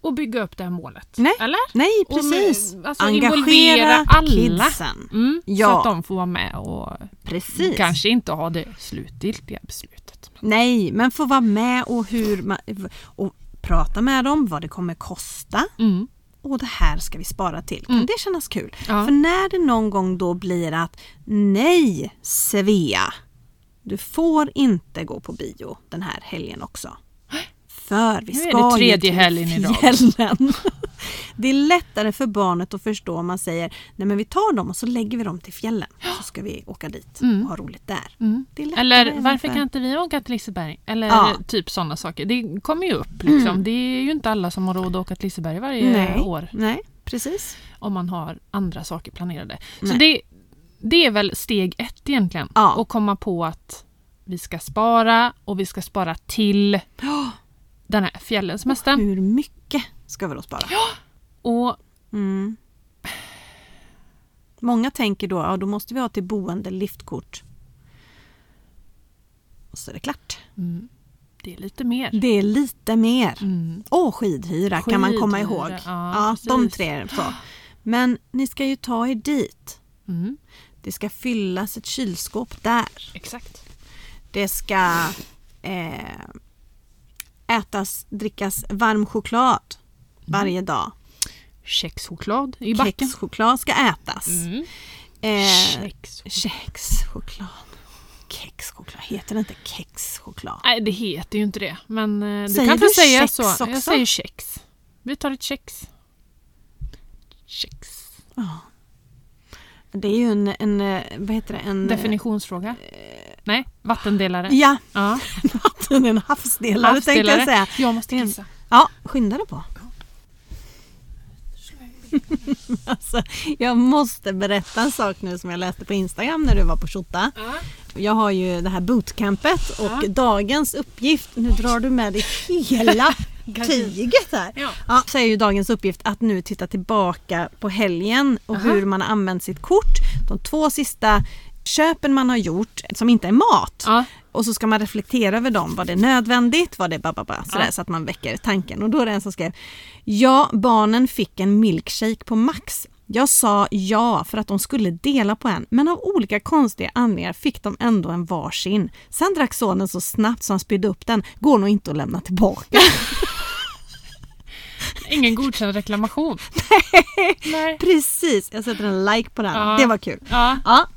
A: och bygga upp det här målet.
B: Nej.
A: Eller?
B: Nej
A: Och med-
B: precis.
A: alltså, involvera
B: Engagera
A: alla.
B: kidsen.
A: Mm, Så
B: Ja.
A: att de får vara med och
B: Precis.
A: kanske inte ha det slutgiltiga beslutet.
B: Nej men få vara med och hur man... Och prata med dem vad det kommer kosta.
A: Mm.
B: och det här ska vi spara till. Kan
A: Mm.
B: det kännas kul?
A: Ja.
B: För när det någon gång då blir att nej Svea, du får inte gå på bio den här helgen också. För vi
A: Nu är
B: ska
A: det tredje
B: ju till
A: helgen i rad.
B: fjällen. Det är lättare för barnet att förstå om man säger nej men vi tar dem och så lägger vi dem till fjällen. Så ska vi åka dit
A: Mm.
B: och ha roligt där.
A: Mm.
B: Det är lättare
A: Eller
B: även
A: varför
B: för-
A: kan inte vi åka till Liseberg? Eller
B: Ja. Mm.
A: typ sådana saker. Det kommer ju upp. Liksom. Det är ju inte alla som har råd att åka till Liseberg varje
B: nej,
A: år
B: Nej, precis.
A: om man har andra saker planerade. Så
B: Nej.
A: det, det är väl steg ett egentligen.
B: Ja.
A: Att komma på att vi ska spara och vi ska spara till den här fjällens mästare.
B: Hur mycket ska vi då spara?
A: Och
B: Mm. Många tänker då, ja då måste vi ha till boende liftkort. Och så är det klart.
A: mm, det är lite mer.
B: Det är lite mer.
A: Mm.
B: Och skidhyra kan man komma
A: Skidhyra,
B: ihåg.
A: ja,
B: de
A: precis.
B: tre är så. Men ni ska ju ta er dit.
A: Mm.
B: Det ska fyllas ett kylskåp där.
A: Exakt.
B: Det ska eh, ätas, drickas varm choklad
A: Mm.
B: varje dag.
A: Kexchoklad i backen.
B: Kexchoklad ska ätas.
A: Mm.
B: Eh,
A: Kex.
B: Kexchoklad. Kexchoklad, heter det inte kexchoklad?
A: Nej, det heter ju inte det. Men eh, du
B: Säger
A: kan väl
B: du
A: säga
B: kex
A: så.
B: också?
A: Jag säger kex. Vi tar ett kex. Kex.
B: Ja. Det är ju en, en eh, vad heter det, en...
A: Definitionsfråga? Nej, vattendelare.
B: Eh. Ja,
A: Ja,
B: vatten, en havsdelare, tänkte jag säga.
A: Jag måste
B: En-
A: kissa.
B: Ja, skynda dig på. Alltså, jag måste berätta en sak nu som jag läste på Instagram när du var på Shota. Jag har ju det här bootcampet och
A: Ja.
B: dagens uppgift, nu drar du med dig hela tyget här.
A: Ja.
B: Ja, så är ju dagens uppgift att nu titta tillbaka på helgen och
A: Aha.
B: hur man har använt sitt kort. De två sista köpen man har gjort som inte är mat.
A: Ja.
B: Och så ska man reflektera över dem. Var det nödvändigt? Var det bababa? Sådär,
A: Ja.
B: Så att man väcker tanken. Och då är det en som skrev Ja, barnen fick en milkshake på Max. Jag sa ja för att de skulle dela på en, men av olika konstiga anledningar fick de ändå en varsin. Sen drack sonen så snabbt så han spydde upp den. Går nog inte att lämna tillbaka.
A: Ingen godkänd reklamation. Nej.
B: Precis, jag sätter en like på den.
A: Ja.
B: Det var kul.
A: Ja,
B: Ja,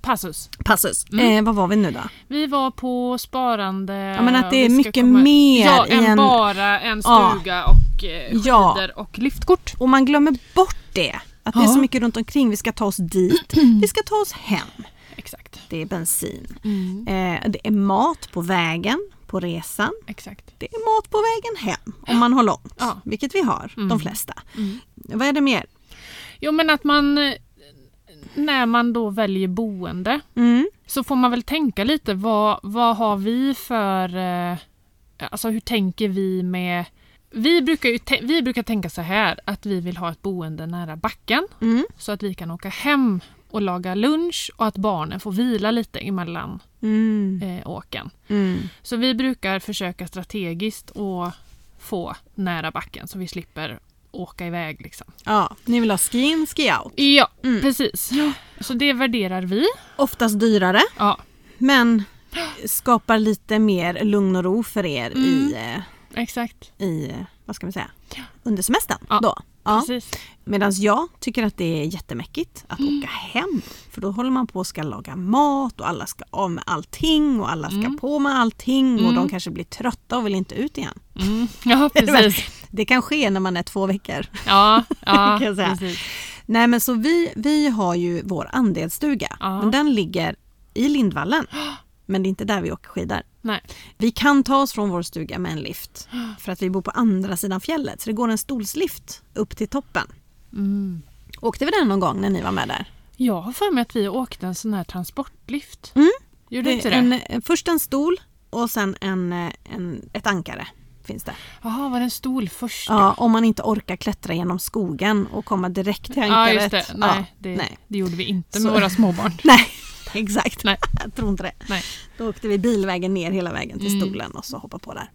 A: passus.
B: passus. Eh, vad var vi nu då?
A: Vi var på sparande. Ja,
B: men att det är mycket mer
A: ja,
B: i
A: än
B: en-
A: bara en
B: Ja.
A: stuga och eh,
B: Ja.
A: skidor och liftkort.
B: Och man glömmer bort det. Att det är
A: Ja.
B: så mycket runt omkring. Vi ska ta oss dit. Vi ska ta oss hem.
A: Exakt.
B: Det är bensin.
A: Mm.
B: Eh, det är mat på vägen, på resan.
A: Exakt.
B: Det är mat på vägen hem om man har långt.
A: Ja. Mm.
B: Vilket vi har, de flesta. Vad är det mer?
A: Jo men att man eh, när man då väljer boende
B: Mm.
A: så får man väl tänka lite vad, vad har vi för... Eh, alltså hur tänker vi med... Vi brukar, ju tä- vi brukar tänka så här att vi vill ha ett boende nära backen
B: Mm.
A: så att vi kan åka hem och laga lunch och att barnen får vila lite emellan
B: Mm.
A: eh, åken.
B: Mm.
A: Så vi brukar försöka strategiskt och få nära backen så vi slipper åka iväg. Liksom.
B: Ja, ni vill ha ski in, ski out.
A: Ja,
B: Mm.
A: precis. Så det värderar vi.
B: Oftast dyrare,
A: Ja,
B: men skapar lite mer lugn och ro för er i,
A: Mm.
B: eh,
A: exakt.
B: i, eh, vad ska man säga, under semestern.
A: Ja.
B: Då. Ja.
A: Precis.
B: Medan jag tycker att det är jättemäckigt att
A: Mm.
B: åka hem. För då håller man på och ska laga mat och alla ska av med allting och alla ska
A: Mm.
B: på med allting och de kanske blir trötta och vill inte ut igen.
A: Mm. Ja, precis.
B: Det kan ske när man är två veckor.
A: Ja, ja,
B: Kan jag säga.
A: precis.
B: Nej men så vi, vi har ju vår andelsstuga.
A: Ja.
B: Men den ligger i Lindvallen. Men det är inte där vi åker skidor.
A: Nej.
B: Vi kan ta oss från vår stuga med en lift. För att vi bor på andra sidan fjället. Så det går en stolslift upp till toppen.
A: Mm.
B: Åkte vi den någon gång när ni var med där?
A: Jag har för mig att vi åkte en sån här transportlift.
B: Mm.
A: Gjorde du inte det?
B: en, en- Först en stol och sen en, eh, en, ett ankare. Finns det.
A: Jaha, var det en stol först?
B: Ja, om man inte orkar klättra genom skogen och komma direkt till
A: ja
B: ankaret.
A: just det. Nej, det,
B: nej.
A: det gjorde vi inte
B: Så-
A: med våra småbarn.
B: Nej, exakt.
A: Nej.
B: Jag tror inte det.
A: Nej.
B: Då åkte vi bilvägen ner hela vägen till
A: Mm.
B: stolen och så hoppade på där.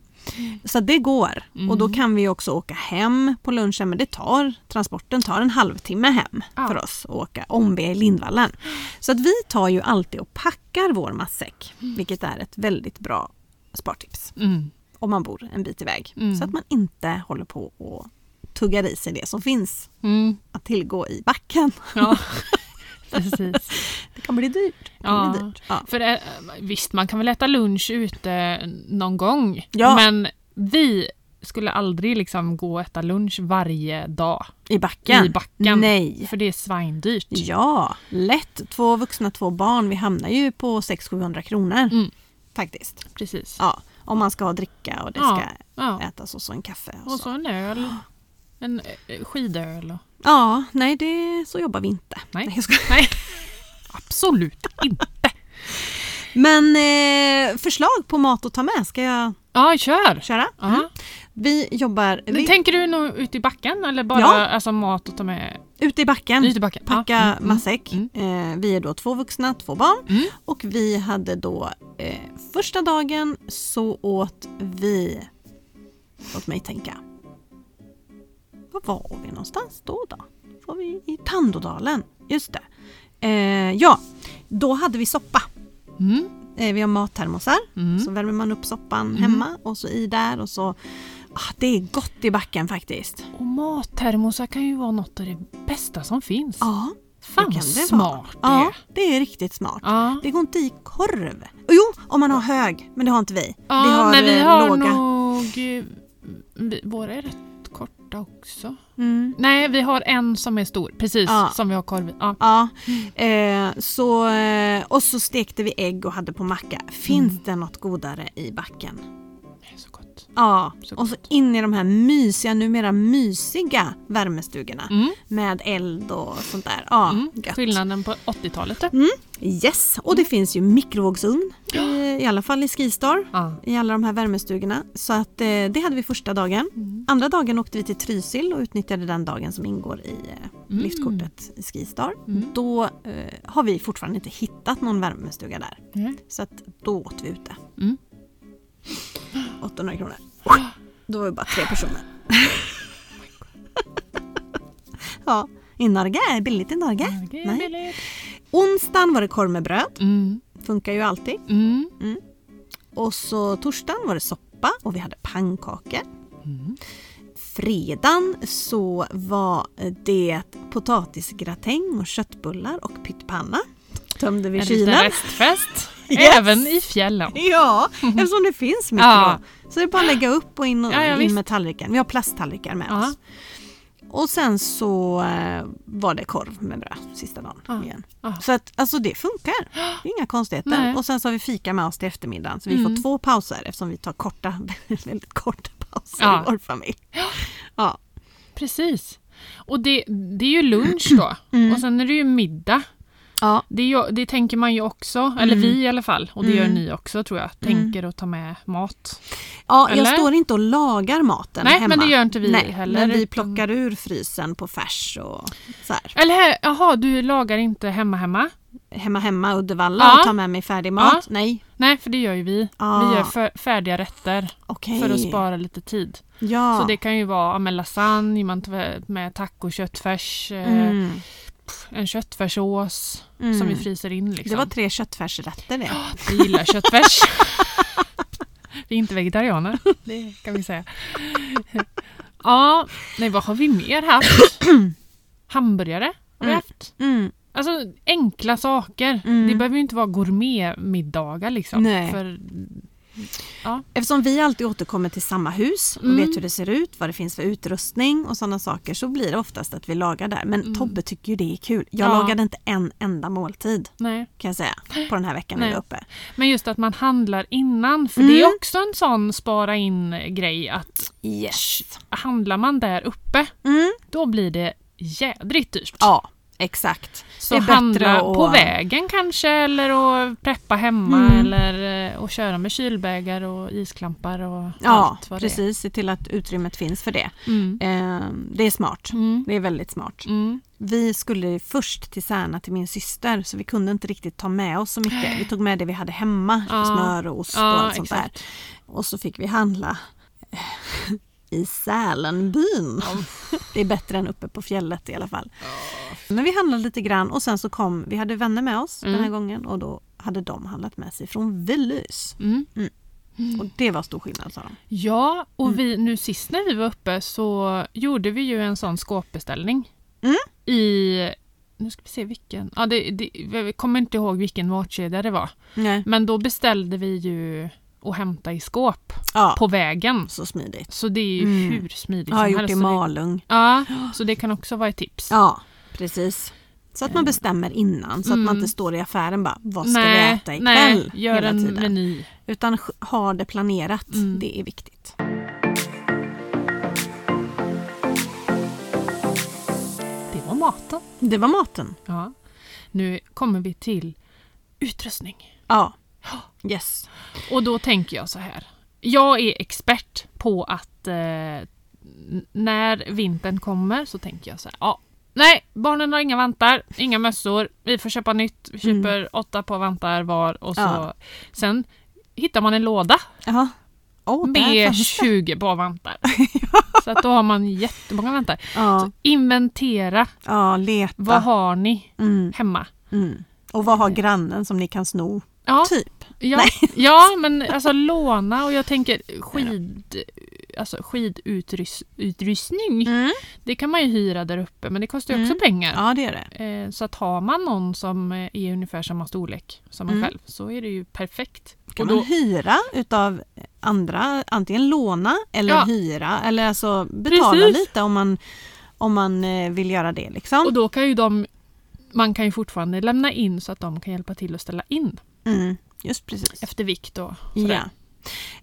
B: Så det går. Och då kan vi också åka hem på lunchen men det tar, transporten tar en halvtimme hem
A: Ja.
B: för oss att åka om vi är i Lindvallen. Så att vi tar ju alltid och packar vår matsäck vilket är ett väldigt bra spartips.
A: Mm.
B: om man bor en bit iväg.
A: Mm.
B: Så att man inte håller på och tuggar i sig det som finns
A: Mm.
B: att tillgå i backen.
A: Ja, precis.
B: Det kan bli dyrt. Det kan
A: Ja.
B: bli dyrt. Ja.
A: För det, visst, man kan väl äta lunch ute någon gång.
B: Ja.
A: Men vi skulle aldrig liksom gå och äta lunch varje dag
B: I backen?
A: i backen.
B: Nej.
A: För det är svindyrt.
B: Ja, lätt. Två vuxna, två barn. Vi hamnar ju på 600-700 kronor.
A: Mm.
B: Faktiskt.
A: Precis.
B: Ja, om man ska ha dricka och det
A: Ja.
B: ska
A: Ja.
B: ätas och så en kaffe.
A: Och
B: Och så.
A: så en öl. En eh, skidöl. och-
B: Ja, nej, det, så jobbar vi inte.
A: Nej.
B: jag skojar.
A: Nej, absolut inte.
B: Men eh, förslag på mat att ta med, ska jag
A: Ja, kör!
B: köra?
A: Ja.
B: Vi jobbar
A: Men
B: Mm. vi,
A: Tänker du nog ut i backen eller bara
B: Ja.
A: alltså, mat att ta med?
B: ute i backen.
A: Ut i backen. Ja.
B: Packa
A: Mm, mm,
B: matsäck.
A: mm.
B: Eh, vi är då två vuxna, två barn.
A: Mm.
B: Och vi hade då eh, första dagen så åt vi, låt mig tänka, var var vi någonstans då? då? Var vi i Tandådalen? Just det. Eh, ja, då hade vi soppa.
A: Mm.
B: Eh, vi har mattermosar.
A: Mm.
B: Så värmer man upp soppan hemma och så i där och så. Ah, det är gott i backen faktiskt.
A: Och mattermosar kan ju vara något av det bästa som finns.
B: Ja,
A: Fan
B: det
A: vad
B: kan det
A: smart det
B: ja
A: är.
B: det är riktigt smart.
A: Ja.
B: Det går inte i korv. Och jo, om man har hög, men det har inte vi.
A: Ja,
B: vi har,
A: nej, vi
B: eh,
A: har
B: låga.
A: nog... eh, vi- Våra är rätt korta också.
B: Mm.
A: Nej, vi har en som är stor. Precis,
B: Ja.
A: som vi har korv i. Ja.
B: Ja, eh, så, eh, och så stekte vi ägg och hade på macka. Finns
A: Mm.
B: det något godare i backen?
A: Det är så gott.
B: Ja,
A: Så
B: och så
A: gott.
B: in i de här mysiga, numera mysiga värmestugorna
A: Mm.
B: med eld och sånt där. Ja,
A: Mm.
B: gött.
A: Skillnaden på 80-talet. då.
B: Yes, och det finns ju mikrovågsugn i, i alla fall i Skistar.
A: Ja.
B: I alla de här värmestugorna. Så att eh, det hade vi första dagen.
A: Mm.
B: Andra dagen åkte vi till Trysil och utnyttjade den dagen som ingår i eh,
A: Mm.
B: liftkortet i Skistar.
A: Mm.
B: Då eh, har vi fortfarande inte hittat någon värmestuga där.
A: Mm.
B: Så att då åt vi ute.
A: Mm.
B: 800 kronor. Då var vi bara tre personer. ja, i Norge är det billigt i Norge.
A: Det är
B: Nej.
A: billigt.
B: Onsdagen var det korv med bröd.
A: Mm.
B: Funkar ju alltid.
A: Mm.
B: Och så torsdagen var det soppa och vi hade pannkakor.
A: Mm.
B: Fredagen så var det potatisgratäng och köttbullar och pyttpanna. Tömde vi
A: En liten
B: kylen.
A: restfest.
B: Yes.
A: Även i fjällen.
B: Ja, eftersom det finns mycket
A: Ja.
B: då. Så det är bara att lägga upp och in, och,
A: Ja, ja,
B: in
A: visst.
B: med tallriken. Vi har plasttallrikar med
A: Ja.
B: oss. Och sen så eh, var det korv med bröd sista dagen
A: Ja.
B: igen.
A: Ja.
B: Så att, alltså det funkar. Det är inga konstigheter.
A: Nej.
B: Och sen så har vi fika med oss till eftermiddagen. Så vi
A: Mm.
B: får två pauser eftersom vi tar korta, väldigt korta pauser
A: Ja.
B: i vår familj. Ja.
A: Precis. Och det, det är ju lunch då.
B: Mm.
A: Och sen är det ju middag.
B: Ja.
A: Det, är ju, det tänker man ju också, eller
B: Mm.
A: vi i alla fall, och det gör ni också tror jag, tänker att ta med mat.
B: ja, jag
A: Eller?
B: står inte och lagar maten
A: Nej,
B: hemma.
A: men det gör inte vi
B: Nej,
A: heller,
B: Men vi
A: utan-
B: plockar ur frysen på färs och så här.
A: Eller här- jaha, du lagar inte hemma hemma?
B: hemma hemma Uddevalla
A: Ja.
B: och ta med mig färdig mat?
A: Ja.
B: Nej.
A: Nej, för det gör ju vi.
B: Ah.
A: Vi gör för, färdiga rätter
B: Okej.
A: för att spara lite tid.
B: Ja.
A: Så det kan ju vara ja, men lasagne, man tar med taco, köttfärs, eh,
B: mm.
A: en köttfärssås
B: Mm.
A: som vi fryser in. Liksom.
B: det var tre köttfärsrätter det.
A: Ja, Vi gillar köttfärs. vi är inte vegetarianer, det kan vi säga. Ja, nej vad har vi mer haft? Hamburgare har vi
B: Mm.
A: haft.
B: Mm.
A: Alltså enkla saker.
B: Mm.
A: Det behöver ju inte vara gourmetmiddagar liksom.
B: Nej.
A: För,
B: Eftersom vi alltid återkommer till samma hus och
A: Mm.
B: vet hur det ser ut, vad det finns för utrustning och sådana saker så blir det oftast att vi lagar där. Men Tobbe tycker ju det är kul. Jag
A: Mm. Ja.
B: lagade inte en enda måltid
A: nej.
B: kan jag säga på den här veckan vi
A: Nej.
B: var uppe.
A: Men just att man handlar innan, för det
B: Mm.
A: är också en sån spara in-grej att
B: Yes.
A: handlar man där uppe,
B: Mm.
A: då blir det jädrigt dyrt.
B: Ja, exakt.
A: Så
B: Det är bättre
A: handla
B: att-
A: på vägen kanske eller att preppa hemma
B: Mm.
A: eller eh, och köra med kylbägar och isklampar och
B: Ja,
A: allt vad
B: precis. Se till att utrymmet finns för det.
A: det är. Mm.
B: Ehm, det är smart.
A: Mm.
B: Det är väldigt smart.
A: Mm.
B: Vi skulle först till Särna till min syster så vi kunde inte riktigt ta med oss så mycket. Vi tog med det vi hade hemma,
A: Ja.
B: smör och ost och
A: Ja,
B: allt sånt där.
A: exakt.
B: Och så fick vi handla i Sälenbyn. Det är bättre än uppe på fjället i alla fall. Men vi handlade lite grann och sen så kom, vi
A: Mm.
B: hade vänner med oss den här gången och då hade de handlat med sig från Willys.
A: Mm.
B: Mm. Och det var stor skillnad sa de.
A: Ja, och
B: Mm.
A: vi, nu sist när vi var uppe så gjorde vi ju en sån skåpbeställning.
B: Mm.
A: I, nu ska vi se vilken, ja, det, det, jag kommer inte ihåg vilken matkedja det var.
B: Nej.
A: Men då beställde vi ju att hämta i skåp
B: Ja,
A: på vägen.
B: så smidigt.
A: Så det är ju
B: Mm.
A: hur smidigt
B: Jag har
A: som
B: gjort
A: helst.
B: i
A: Så det-
B: Malung.
A: Ja, så det kan också vara ett tips.
B: Ja, precis. Eh. Så att man bestämmer innan så att man
A: Mm.
B: inte står i affären bara vad ska vi äta ikväll
A: nej, gör
B: hela
A: en
B: tiden.
A: meny.
B: Utan sk- ha det planerat,
A: Mm.
B: det är viktigt.
A: Det var maten.
B: Det var maten.
A: Ja. Nu kommer vi till utrustning.
B: Ja. Yes.
A: Och då tänker jag så här. Jag är expert på att eh, n- när vintern kommer så tänker jag så här. Ja, nej, barnen har inga vantar, inga mössor. Vi får köpa nytt. Vi köper åtta par vantar var och så.
B: Mm. Ja.
A: Sen hittar man en låda
B: Ja. Åh, där
A: med
B: fanns det.
A: 20 par vantar. så att då har man jättemånga vantar.
B: Ja,
A: Så inventera.
B: ja leta.
A: Vad har ni
B: Mm,
A: hemma?
B: mm. Och vad har grannen som ni kan sno?
A: Ja,
B: Typ.
A: ja, ja men alltså låna och jag tänker skid, alltså skidutrustning. Det kan man ju hyra där uppe men det kostar ju också
B: Mm.
A: pengar.
B: Ja, det är det.
A: Eh, Så att har man någon som eh, är ungefär samma storlek som man
B: Mm.
A: själv så är det ju perfekt.
B: Kan
A: och då,
B: man hyra utav andra, antingen låna eller
A: Ja.
B: hyra eller alltså betala
A: Precis.
B: lite om man, om man eh, vill göra det
A: och
B: liksom.
A: då kan ju de, man kan ju fortfarande lämna in så att de kan hjälpa till att ställa in
B: Mm, just precis.
A: efter vikt och sådär.
B: Ja.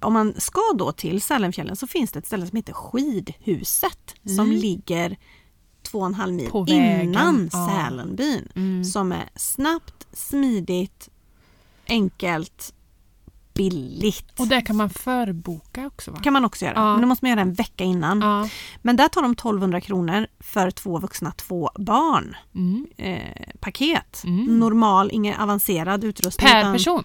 B: Om man ska då till Sälenfjällen så finns det ett ställe som heter Skidhuset som
A: Mm.
B: ligger två och en halv mil
A: På vägen,
B: innan
A: ja.
B: Sälenbyn.
A: Mm.
B: Som är snabbt, smidigt, enkelt, billigt.
A: Och där kan man förboka också va?
B: kan man också göra,
A: Ja.
B: men då måste man göra en vecka innan.
A: Ja.
B: Men där tar de 1200 kronor för två vuxna, två barn
A: Mm.
B: eh, paket.
A: Mm.
B: Normal, ingen avancerad utrustning.
A: Per
B: utan-
A: person?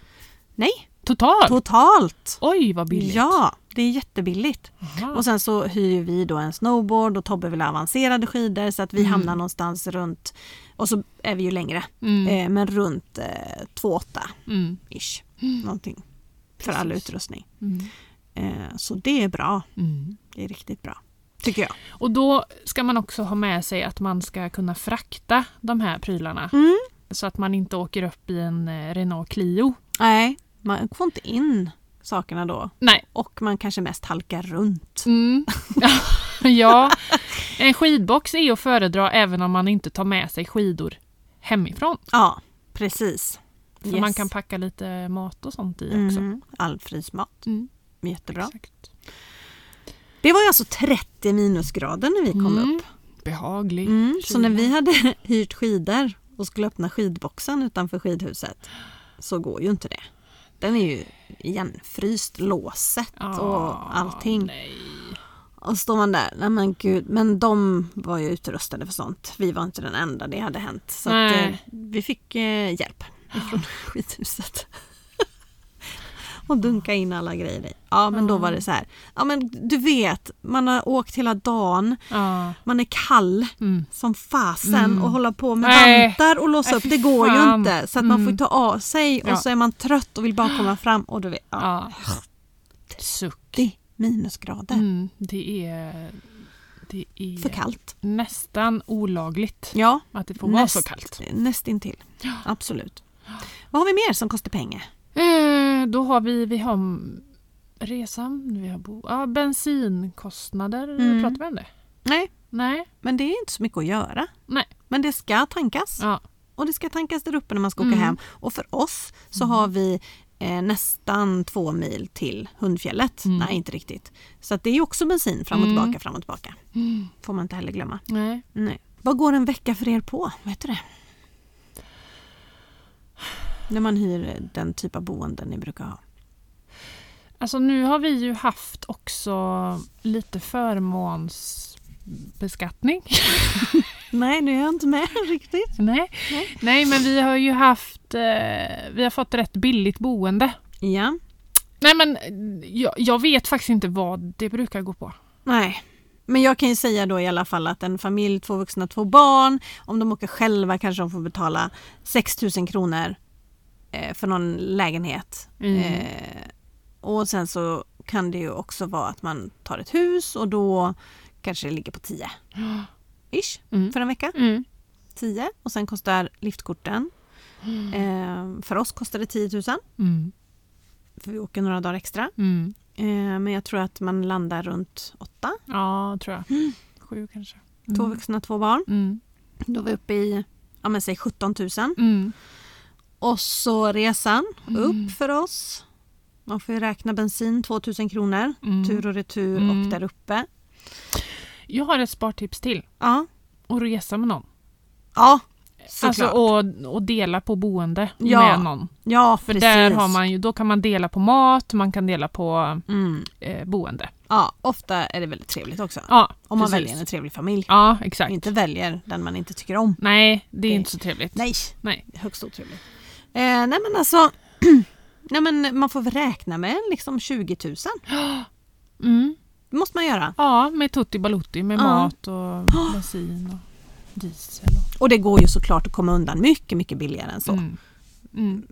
B: Nej,
A: Totalt?
B: totalt!
A: Oj vad billigt!
B: Ja, det är jättebilligt.
A: Aha.
B: Och sen så hyr vi då en snowboard och Tobbe vill ha avancerade skidor så att vi
A: Mm.
B: hamnar någonstans runt, och så är vi ju längre,
A: Mm.
B: eh, men runt eh, 2,8
A: Mm.
B: ish. Någonting för all
A: Precis.
B: utrustning.
A: Mm.
B: Eh, så det är bra.
A: Mm.
B: Det är riktigt bra. Tycker jag.
A: Och då ska man också ha med sig att man ska kunna frakta de här prylarna.
B: Mm.
A: Så att man inte åker upp i en eh, Renault Clio.
B: Nej, man får inte in sakerna då.
A: Nej.
B: Och man kanske mest halkar runt.
A: Mm. ja, en skidbox är att föredra även om man inte tar med sig skidor hemifrån.
B: Ja, precis.
A: För
B: Yes.
A: man kan packa lite mat och sånt i också.
B: Mhm. All frysmat.
A: Mm.
B: Jättebra.
A: Exakt.
B: Det var ju alltså 30 minusgrader när vi kom
A: Mm.
B: upp.
A: Behagligt.
B: Mm, så
A: kyla.
B: när vi hade hyrt skidor och skulle öppna skidboxen utanför skidhuset så går ju inte det. Den är ju igenfryst, låset och allting.
A: Ah, Nej.
B: Och står man där, nej men gud, men de var ju utrustade för sånt. Vi var inte den enda det hade hänt. Så att,
A: Nej. Ah.
B: eh, vi fick eh, hjälp från skidhuset. och dunka in alla grejer i. Ja men då
A: Ah.
B: var det så här, ja men du vet, man har åkt hela dagen,
A: Ja.
B: man är kall
A: Ah, Mm.
B: som fasen
A: Mm.
B: och hålla på med
A: Nej.
B: vantar och låsa
A: Nej,
B: upp,
A: fy
B: det går ju
A: fan.
B: inte. Så att man får
A: Mm.
B: ta av sig och
A: Ja.
B: så är man trött och vill bara komma fram. Och du vet, ja,
A: Ja. Suck.
B: det är minusgrader.
A: Mm, det är, det är
B: För kallt.
A: nästan olagligt
B: Ja,
A: att det får
B: Näst-
A: vara så kallt.
B: nästintill. Absolut. Vad har vi mer som kostar pengar?
A: Eh, då har vi, vi har m- resan, vi har bo, ja, bensinkostnader,
B: Mm.
A: pratar vi om det?
B: Nej,
A: Nej.
B: men det är inte så mycket att göra.
A: Nej.
B: Men det ska tankas.
A: Ja.
B: Och det ska tankas där uppe när man ska åka
A: Mm.
B: hem. Och för oss så har vi eh, nästan två mil till Hundfjället.
A: Mm.
B: Nej, inte riktigt. Så att det är ju också bensin fram och
A: Mm.
B: tillbaka, fram och tillbaka.
A: Mm.
B: Får man inte heller glömma.
A: Nej.
B: Nej. Vad går en vecka för er på? Vet du det? När man hyr den typ av boenden ni brukar ha.
A: Alltså nu har vi ju haft också lite förmånsbeskattning.
B: Nej, nu är jag inte med riktigt.
A: Nej.
B: Nej.
A: Nej, men vi har ju haft, eh, vi har fått rätt billigt boende.
B: Ja.
A: Nej men eh, jag, jag vet faktiskt inte vad det brukar gå på.
B: Nej. Men jag kan ju säga då i alla fall att en familj, två vuxna, två barn, om de åker själva kanske de får betala 6 000 kronor eh, för någon lägenhet.
A: Mm.
B: Eh, Och sen så kan det ju också vara att man tar ett hus och då kanske det ligger på 10 ish
A: Mm.
B: för en vecka.
A: Mm.
B: 10 och sen kostar liftkorten. Eh, för oss kostar det 10 000
A: Mm.
B: för vi åker några dagar extra.
A: Mm.
B: Eh, men jag tror att man landar runt 8.
A: Ja, tror jag. Sju kanske.
B: Mm. Två
A: Mm.
B: vuxna, två barn.
A: Mm.
B: Då var vi uppe i ja, men säg 17 000.
A: Mm.
B: Och så resan
A: Mm.
B: upp för oss. Man får ju räkna bensin 2 000 kronor.
A: Mm.
B: Tur och retur
A: Mm.
B: och där uppe.
A: Jag har ett spartips till.
B: Ja,
A: Att resa med någon.
B: ja såklart.
A: Alltså, och, och dela på boende
B: Ja,
A: med någon.
B: ja,
A: För
B: precis.
A: där har man ju, då kan man dela på mat, man kan dela på
B: Mm.
A: eh, boende.
B: Ja, ofta är det väldigt trevligt också.
A: Ja,
B: om man
A: precis.
B: väljer en trevlig familj.
A: Ja, exakt.
B: Inte väljer den man inte tycker om.
A: Nej, det är
B: Det-
A: inte så trevligt.
B: Nej,
A: Nej.
B: högst otrevligt. Eh, nej men alltså, nej men man får väl räkna med liksom 20 000.
A: Mm.
B: Det måste man göra.
A: Ja, med tutti balutti med
B: Ja.
A: mat och bensin och diesel. Och,
B: Och det går ju såklart att komma undan mycket, mycket billigare än så.
A: Mm. Mm.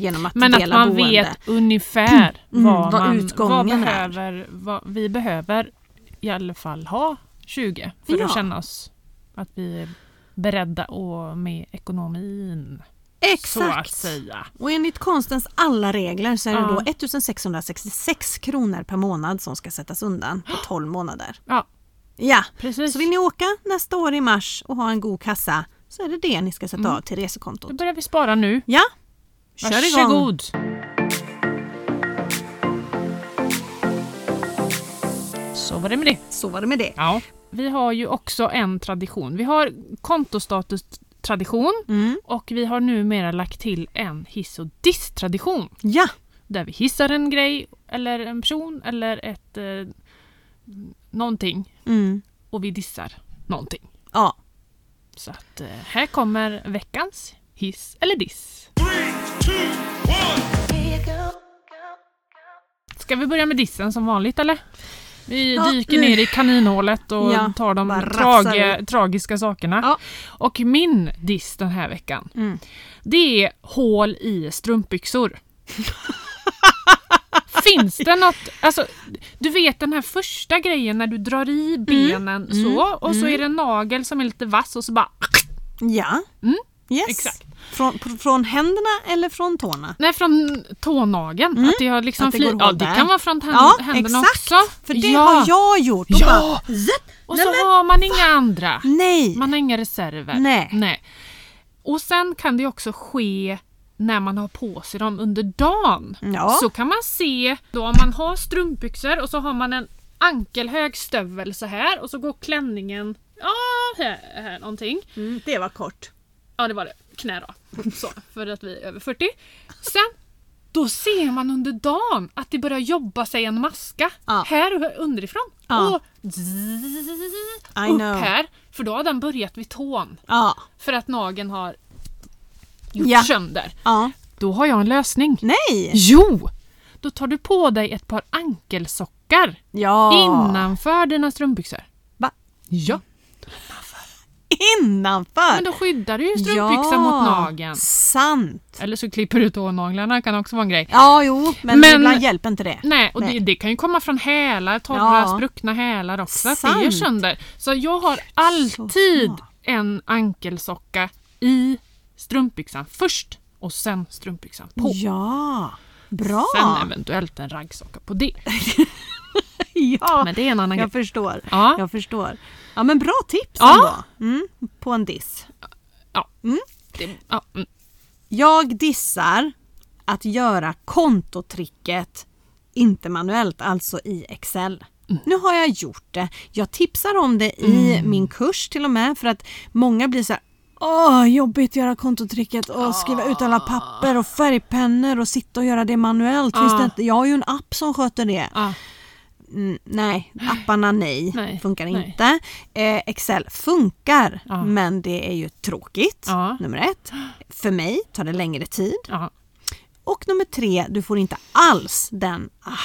B: Genom att
A: Men att
B: dela
A: man
B: boende.
A: vet ungefär
B: Mm,
A: vad,
B: vad
A: man, vad
B: utgången är.
A: behöver, vad, vi behöver i alla fall ha 20 för
B: Ja.
A: att känna oss att vi är beredda och med ekonomin. Så att
B: Exakt!
A: säga.
B: och enligt konstens alla regler så är det
A: Ja.
B: då 1666 kronor per månad som ska sättas undan på 12 månader.
A: Ja,
B: Ja,
A: precis.
B: så vill ni åka nästa år i mars och ha en god kassa så är det det ni ska sätta
A: Mm.
B: av till resekontot.
A: Då börjar vi spara nu.
B: Ja, kör igång!
A: Varsågod! Så var det med det.
B: Så var det med det.
A: Ja. Vi har ju också en tradition. Vi har kontostatus-tradition
B: Mm.
A: och vi har numera lagt till en hiss och diss-tradition.
B: Ja,
A: Där vi hissar en grej, eller en person, eller ett... Eh, någonting.
B: mm.
A: Och vi dissar någonting.
B: ja.
A: Så att eh, här kommer veckans hiss eller diss. Ska vi börja med dissen som vanligt eller? Vi
B: Ja,
A: dyker
B: nu-
A: ner i kaninhålet och
B: Ja,
A: tar de
B: bara rafsar
A: trage, tragiska sakerna.
B: Ja.
A: Och min diss den här veckan,
B: Mm.
A: det är hål i strumpbyxor. Finns det något, alltså du vet den här första grejen när du drar i
B: Mm.
A: benen så och så är det en nagel som är lite vass och så bara
B: Ja.
A: Mm,
B: Yes.
A: exakt.
B: Från, pr- från händerna eller från tårna?
A: Nej, från tånageln. Att det har liksom
B: Mm. Att det går
A: fli- ja,
B: hål
A: det
B: där.
A: kan vara från händ- händerna
B: exakt.
A: också.
B: För det
A: ja.
B: har jag gjort. Och
A: Ja.
B: bara, zapp.
A: Och
B: nej,
A: så
B: men,
A: har man inga andra.
B: nej.
A: Man har inga reserver.
B: Nej.
A: Och sen kan det också ske när man har på sig dem under dagen.
B: Ja.
A: Så kan man se då om man har strumpbyxor och så har man en ankelhög stövel så här och så går klänningen ja, här, här någonting.
B: Mm, det var kort.
A: Ja det var det. Knä då. Så, för att vi är över 40. Sen, då ser man under dagen att det börjar jobba sig en maska.
B: Ja.
A: Här underifrån.
B: Ja.
A: Och zzz,
B: I
A: upp
B: know.
A: här. För då har den börjat vid tån.
B: Ja.
A: För att nageln har gjort
B: Ja.
A: sönder.
B: ja.
A: Då har jag en lösning.
B: Nej.
A: Jo! Då tar du på dig ett par ankelsockar
B: Ja.
A: innanför dina strumpbyxor.
B: Va?
A: Ja.
B: Innanför.
A: Men då skyddar du ju strumpbyxan mot nageln.
B: Sant.
A: Eller så klipper du tånaglarna, kan också vara en grej.
B: Ja, jo. Men,
A: Men-
B: ibland hjälper inte det.
A: Nej, och
B: Nej.
A: Det, det kan ju komma från hälar, torra,
B: Ja.
A: spruckna hälar också. Att det
B: Sant.
A: gör sönder. Så jag har alltid
B: smart.
A: en ankelsocka i strumpbyxan först och sen strumpbyxan på.
B: Ja. Bra.
A: Sen eventuellt en raggsocka på det.
B: ja.
A: Men det är en annan
B: Jag
A: grej.
B: förstår.
A: Ja.
B: Jag förstår. Ja men bra tips
A: Ja.
B: ändå. Mm, på en diss.
A: Det, ja, mm.
B: Jag dissar att göra kontotricket inte manuellt, alltså i Excel.
A: Mm.
B: Nu har jag gjort det. Jag tipsar om det i min kurs till och med för att många blir så här Åh, jobbigt göra kontotricket och skriva ut
A: Ah.
B: alla papper och färgpennor och sitta och göra det manuellt. Finns
A: Ah.
B: det inte? Jag har ju en app som sköter det.
A: ja.
B: Mm, nej, apparna nej,
A: Nej,
B: funkar
A: nej. Ah.
B: inte. Eh, Excel funkar,
A: Ja.
B: men det är ju tråkigt,
A: Ja.
B: nummer ett. För mig tar det längre tid.
A: ja.
B: Och nummer tre, du får inte alls den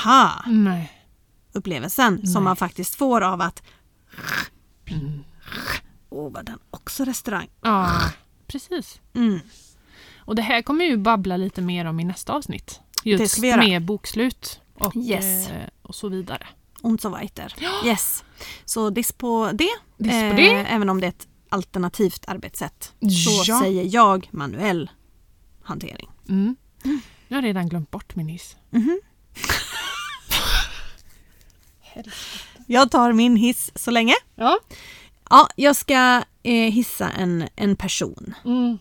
A: Nej.
B: aha-upplevelsen som man faktiskt får av att
A: Mm.
B: Åh, var den också restaurang?
A: Ja, precis.
B: Mm.
A: Och det här kommer ju babbla lite mer om i nästa avsnitt. Just
B: ska vi göra.
A: med bokslut. och,
B: Yes.
A: eh, och så vidare.
B: Und so weiter. Yes. Så diss på det. eh,
A: Diss på det.
B: Även om det är ett alternativt arbetssätt. Så
A: Ja.
B: säger jag manuell hantering.
A: Mm. Jag har redan glömt bort min hiss.
B: Jag tar min hiss så länge.
A: Ja.
B: Ja, jag ska eh, hissa en, en person.
A: Mm.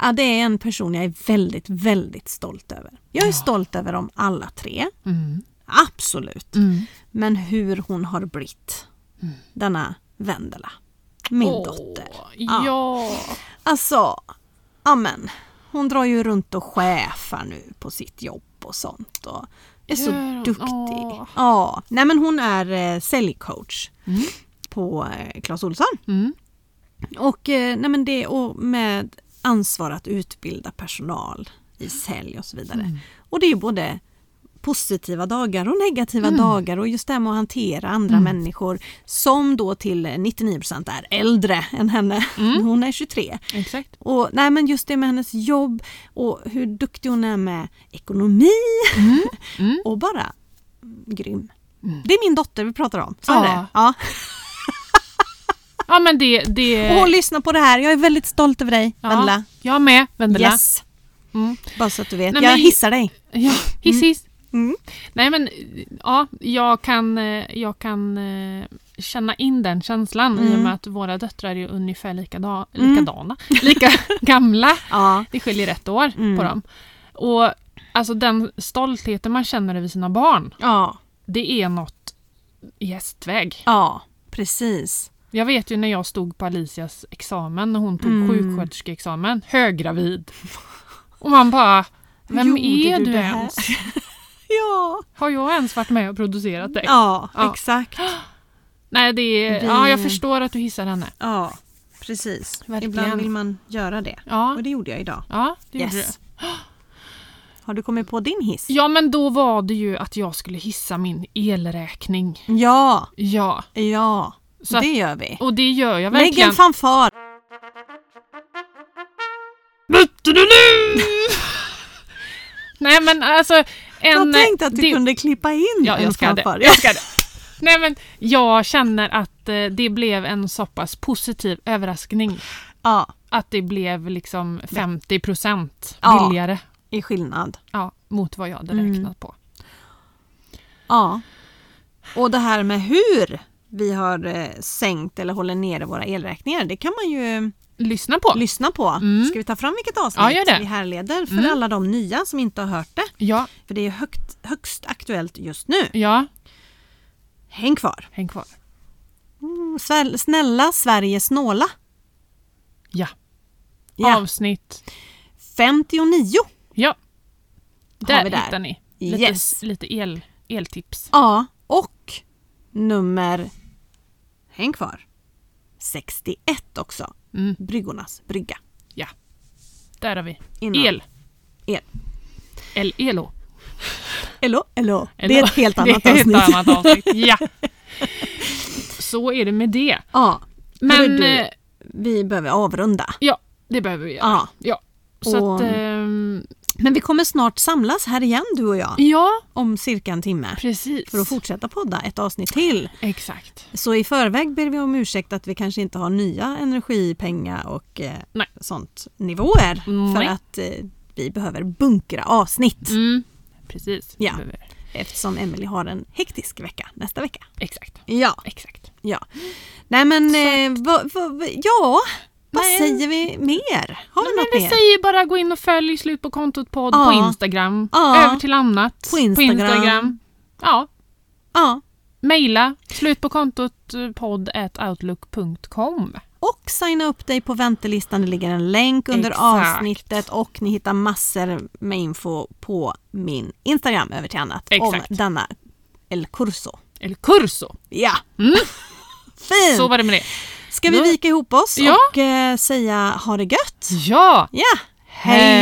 B: Ja, det är en person jag är väldigt, väldigt stolt över. Jag är stolt över dem alla tre.
A: Mm.
B: Absolut.
A: Mm.
B: Men hur hon har blivit. Denna Vendela. Min dotter.
A: Åh,
B: Ja.
A: Ja.
B: Alltså, amen. Hon drar ju runt och chefar nu på sitt jobb och sånt. Och är så
A: Gör hon?
B: duktig.
A: Åh.
B: Ja, nej men hon är eh, säljcoach
A: Mm.
B: på eh, Clas Ohlson.
A: Mm.
B: Och, eh, nej men det, och med ansvar att utbilda personal i sälj och så vidare.
A: Mm.
B: Och det är ju både positiva dagar och negativa
A: Mm.
B: dagar och just det här med att hantera andra människor som då till 99% är äldre än henne.
A: Mm.
B: Hon är 23.
A: Exakt.
B: Och, nej men just det med hennes jobb och hur duktig hon är med ekonomi
A: Mm.
B: och bara grym. Det är min dotter vi pratar om. Så
A: Ja.
B: är det. Ja.
A: Ja men det... det...
B: Och hon lyssnar på det här. Jag är väldigt stolt över dig,
A: Eh. ja.
B: Vendela.
A: Jag med, Vendela.
B: Yes.
A: Mm.
B: Bara så att du vet.
A: Nej,
B: jag
A: men-
B: hissar dig.
A: Ja, hiss hiss.
B: Mm.
A: Nej men ja, jag kan, eh, jag kan eh, känna in den känslan
B: Mm.
A: i och med att våra döttrar är ungefär likada, likadana, lika gamla.
B: Ja.
A: Det skiljer ett år
B: Mm.
A: på dem. Och alltså den stoltheten man känner över sina barn,
B: Ja.
A: det är något i hästväg.
B: Ja, precis.
A: Jag vet ju när jag stod på Alicias examen, när hon tog
B: Mm.
A: sjuksköterskeexamen, höggravid. Och man bara, vem
B: Gjorde
A: är
B: du
A: du,
B: det här?
A: ens?
B: Ja,
A: Har jag ens varit med och producerat dig?
B: ja,
A: Ja.
B: exakt.
A: Nej, det är,
B: Vi-
A: ja, jag förstår att du hissar henne.
B: Ja, precis.
A: Verkligen.
B: Ibland vill man göra det.
A: Ja,
B: Och det gjorde jag idag.
A: ja det gjorde
B: Yes.
A: du.
B: Har du kommit på din hiss?
A: Ja, men då var det ju att jag skulle hissa min elräkning.
B: Ja,
A: Ja,
B: ja.
A: Så att-
B: det gör vi.
A: och det gör jag
B: Lägg
A: verkligen.
B: en fanfar.
A: Bytte du nu? Nej, men alltså... En,
B: Jag tänkte att du
A: det-
B: kunde klippa in
A: Ja,
B: en
A: jag ska det.
B: fanfar.
A: Jag ska det. Nej, men jag känner att eh, det blev en så pass positiv överraskning.
B: Ja,
A: Att det blev liksom 50 procent
B: Ja.
A: billigare
B: i skillnad.
A: ja, mot vad jag hade
B: Mm.
A: räknat på.
B: Ja. Och det här med hur vi har eh, sänkt eller håller nere våra elräkningar, det kan man ju eh,
A: Lyssna på!
B: lyssna på.
A: Mm.
B: Ska vi ta fram vilket avsnitt
A: Ja, gör det.
B: vi härleder för
A: Mm.
B: alla de nya som inte har hört det?
A: Ja,
B: För det är högt, högst aktuellt just nu.
A: ja,
B: Häng kvar!
A: häng kvar.
B: Mm, sväl- snälla Sverige snåla!
A: Ja.
B: Ja.
A: Avsnitt.
B: 59!
A: Ja.
B: Har vi
A: Där
B: där.
A: hittar ni. Lite,
B: Yes.
A: lite el, eltips.
B: Ja, och nummer... Häng kvar! 61 också.
A: Mm.
B: Bryggornas brygga.
A: Där har vi.
B: Innan.
A: El.
B: El.
A: El, elo.
B: Hello, hello.
A: Elo.
B: Det är ett helt annat
A: Det är ett
B: avsnitt.
A: annat avsnitt. Ja. Så är det med det.
B: Ja,
A: Men
B: Hörru du.
A: eh,
B: vi behöver avrunda.
A: ja, det behöver vi göra.
B: Ja.
A: Ja. Så
B: Och-
A: att, ehm,
B: Men vi kommer snart samlas här igen du och jag
A: ja,
B: om cirka en timme
A: precis.
B: för att fortsätta podda ett avsnitt till.
A: Exakt.
B: Så i förväg ber vi om ursäkt att vi kanske inte har nya energipengar och eh,
A: Nej.
B: sånt nivåer för
A: Nej.
B: att eh, vi behöver bunkra avsnitt
A: Mm. Precis.
B: Ja.
A: Det behöver vi.
B: eftersom Emily har en hektisk vecka nästa vecka.
A: Exakt.
B: Ja,
A: Exakt.
B: ja. Nej men eh, vad- vad- vad- ja, vad
A: Nej.
B: säger vi mer? Har vi
A: Men
B: något
A: vi
B: mer?
A: säger bara gå in och följ Slut på kontot podd
B: Ja.
A: på Instagram.
B: Ja.
A: Över till annat.
B: På Instagram.
A: Ja.
B: Ja,
A: Mejla slutpåkontotpodd.outlook.com.
B: och signa upp dig på väntelistan. Det ligger en länk under
A: Exakt.
B: avsnittet och ni hittar massor med info på min Instagram över till annat
A: Exakt.
B: om denna El Curso.
A: Eller kurso.
B: Ja!
A: Mm.
B: Fint!
A: Så var det med det.
B: Ska vi
A: Då-
B: vika ihop oss
A: Ja.
B: och eh, säga ha det gött?
A: Ja!
B: Ja! Hej!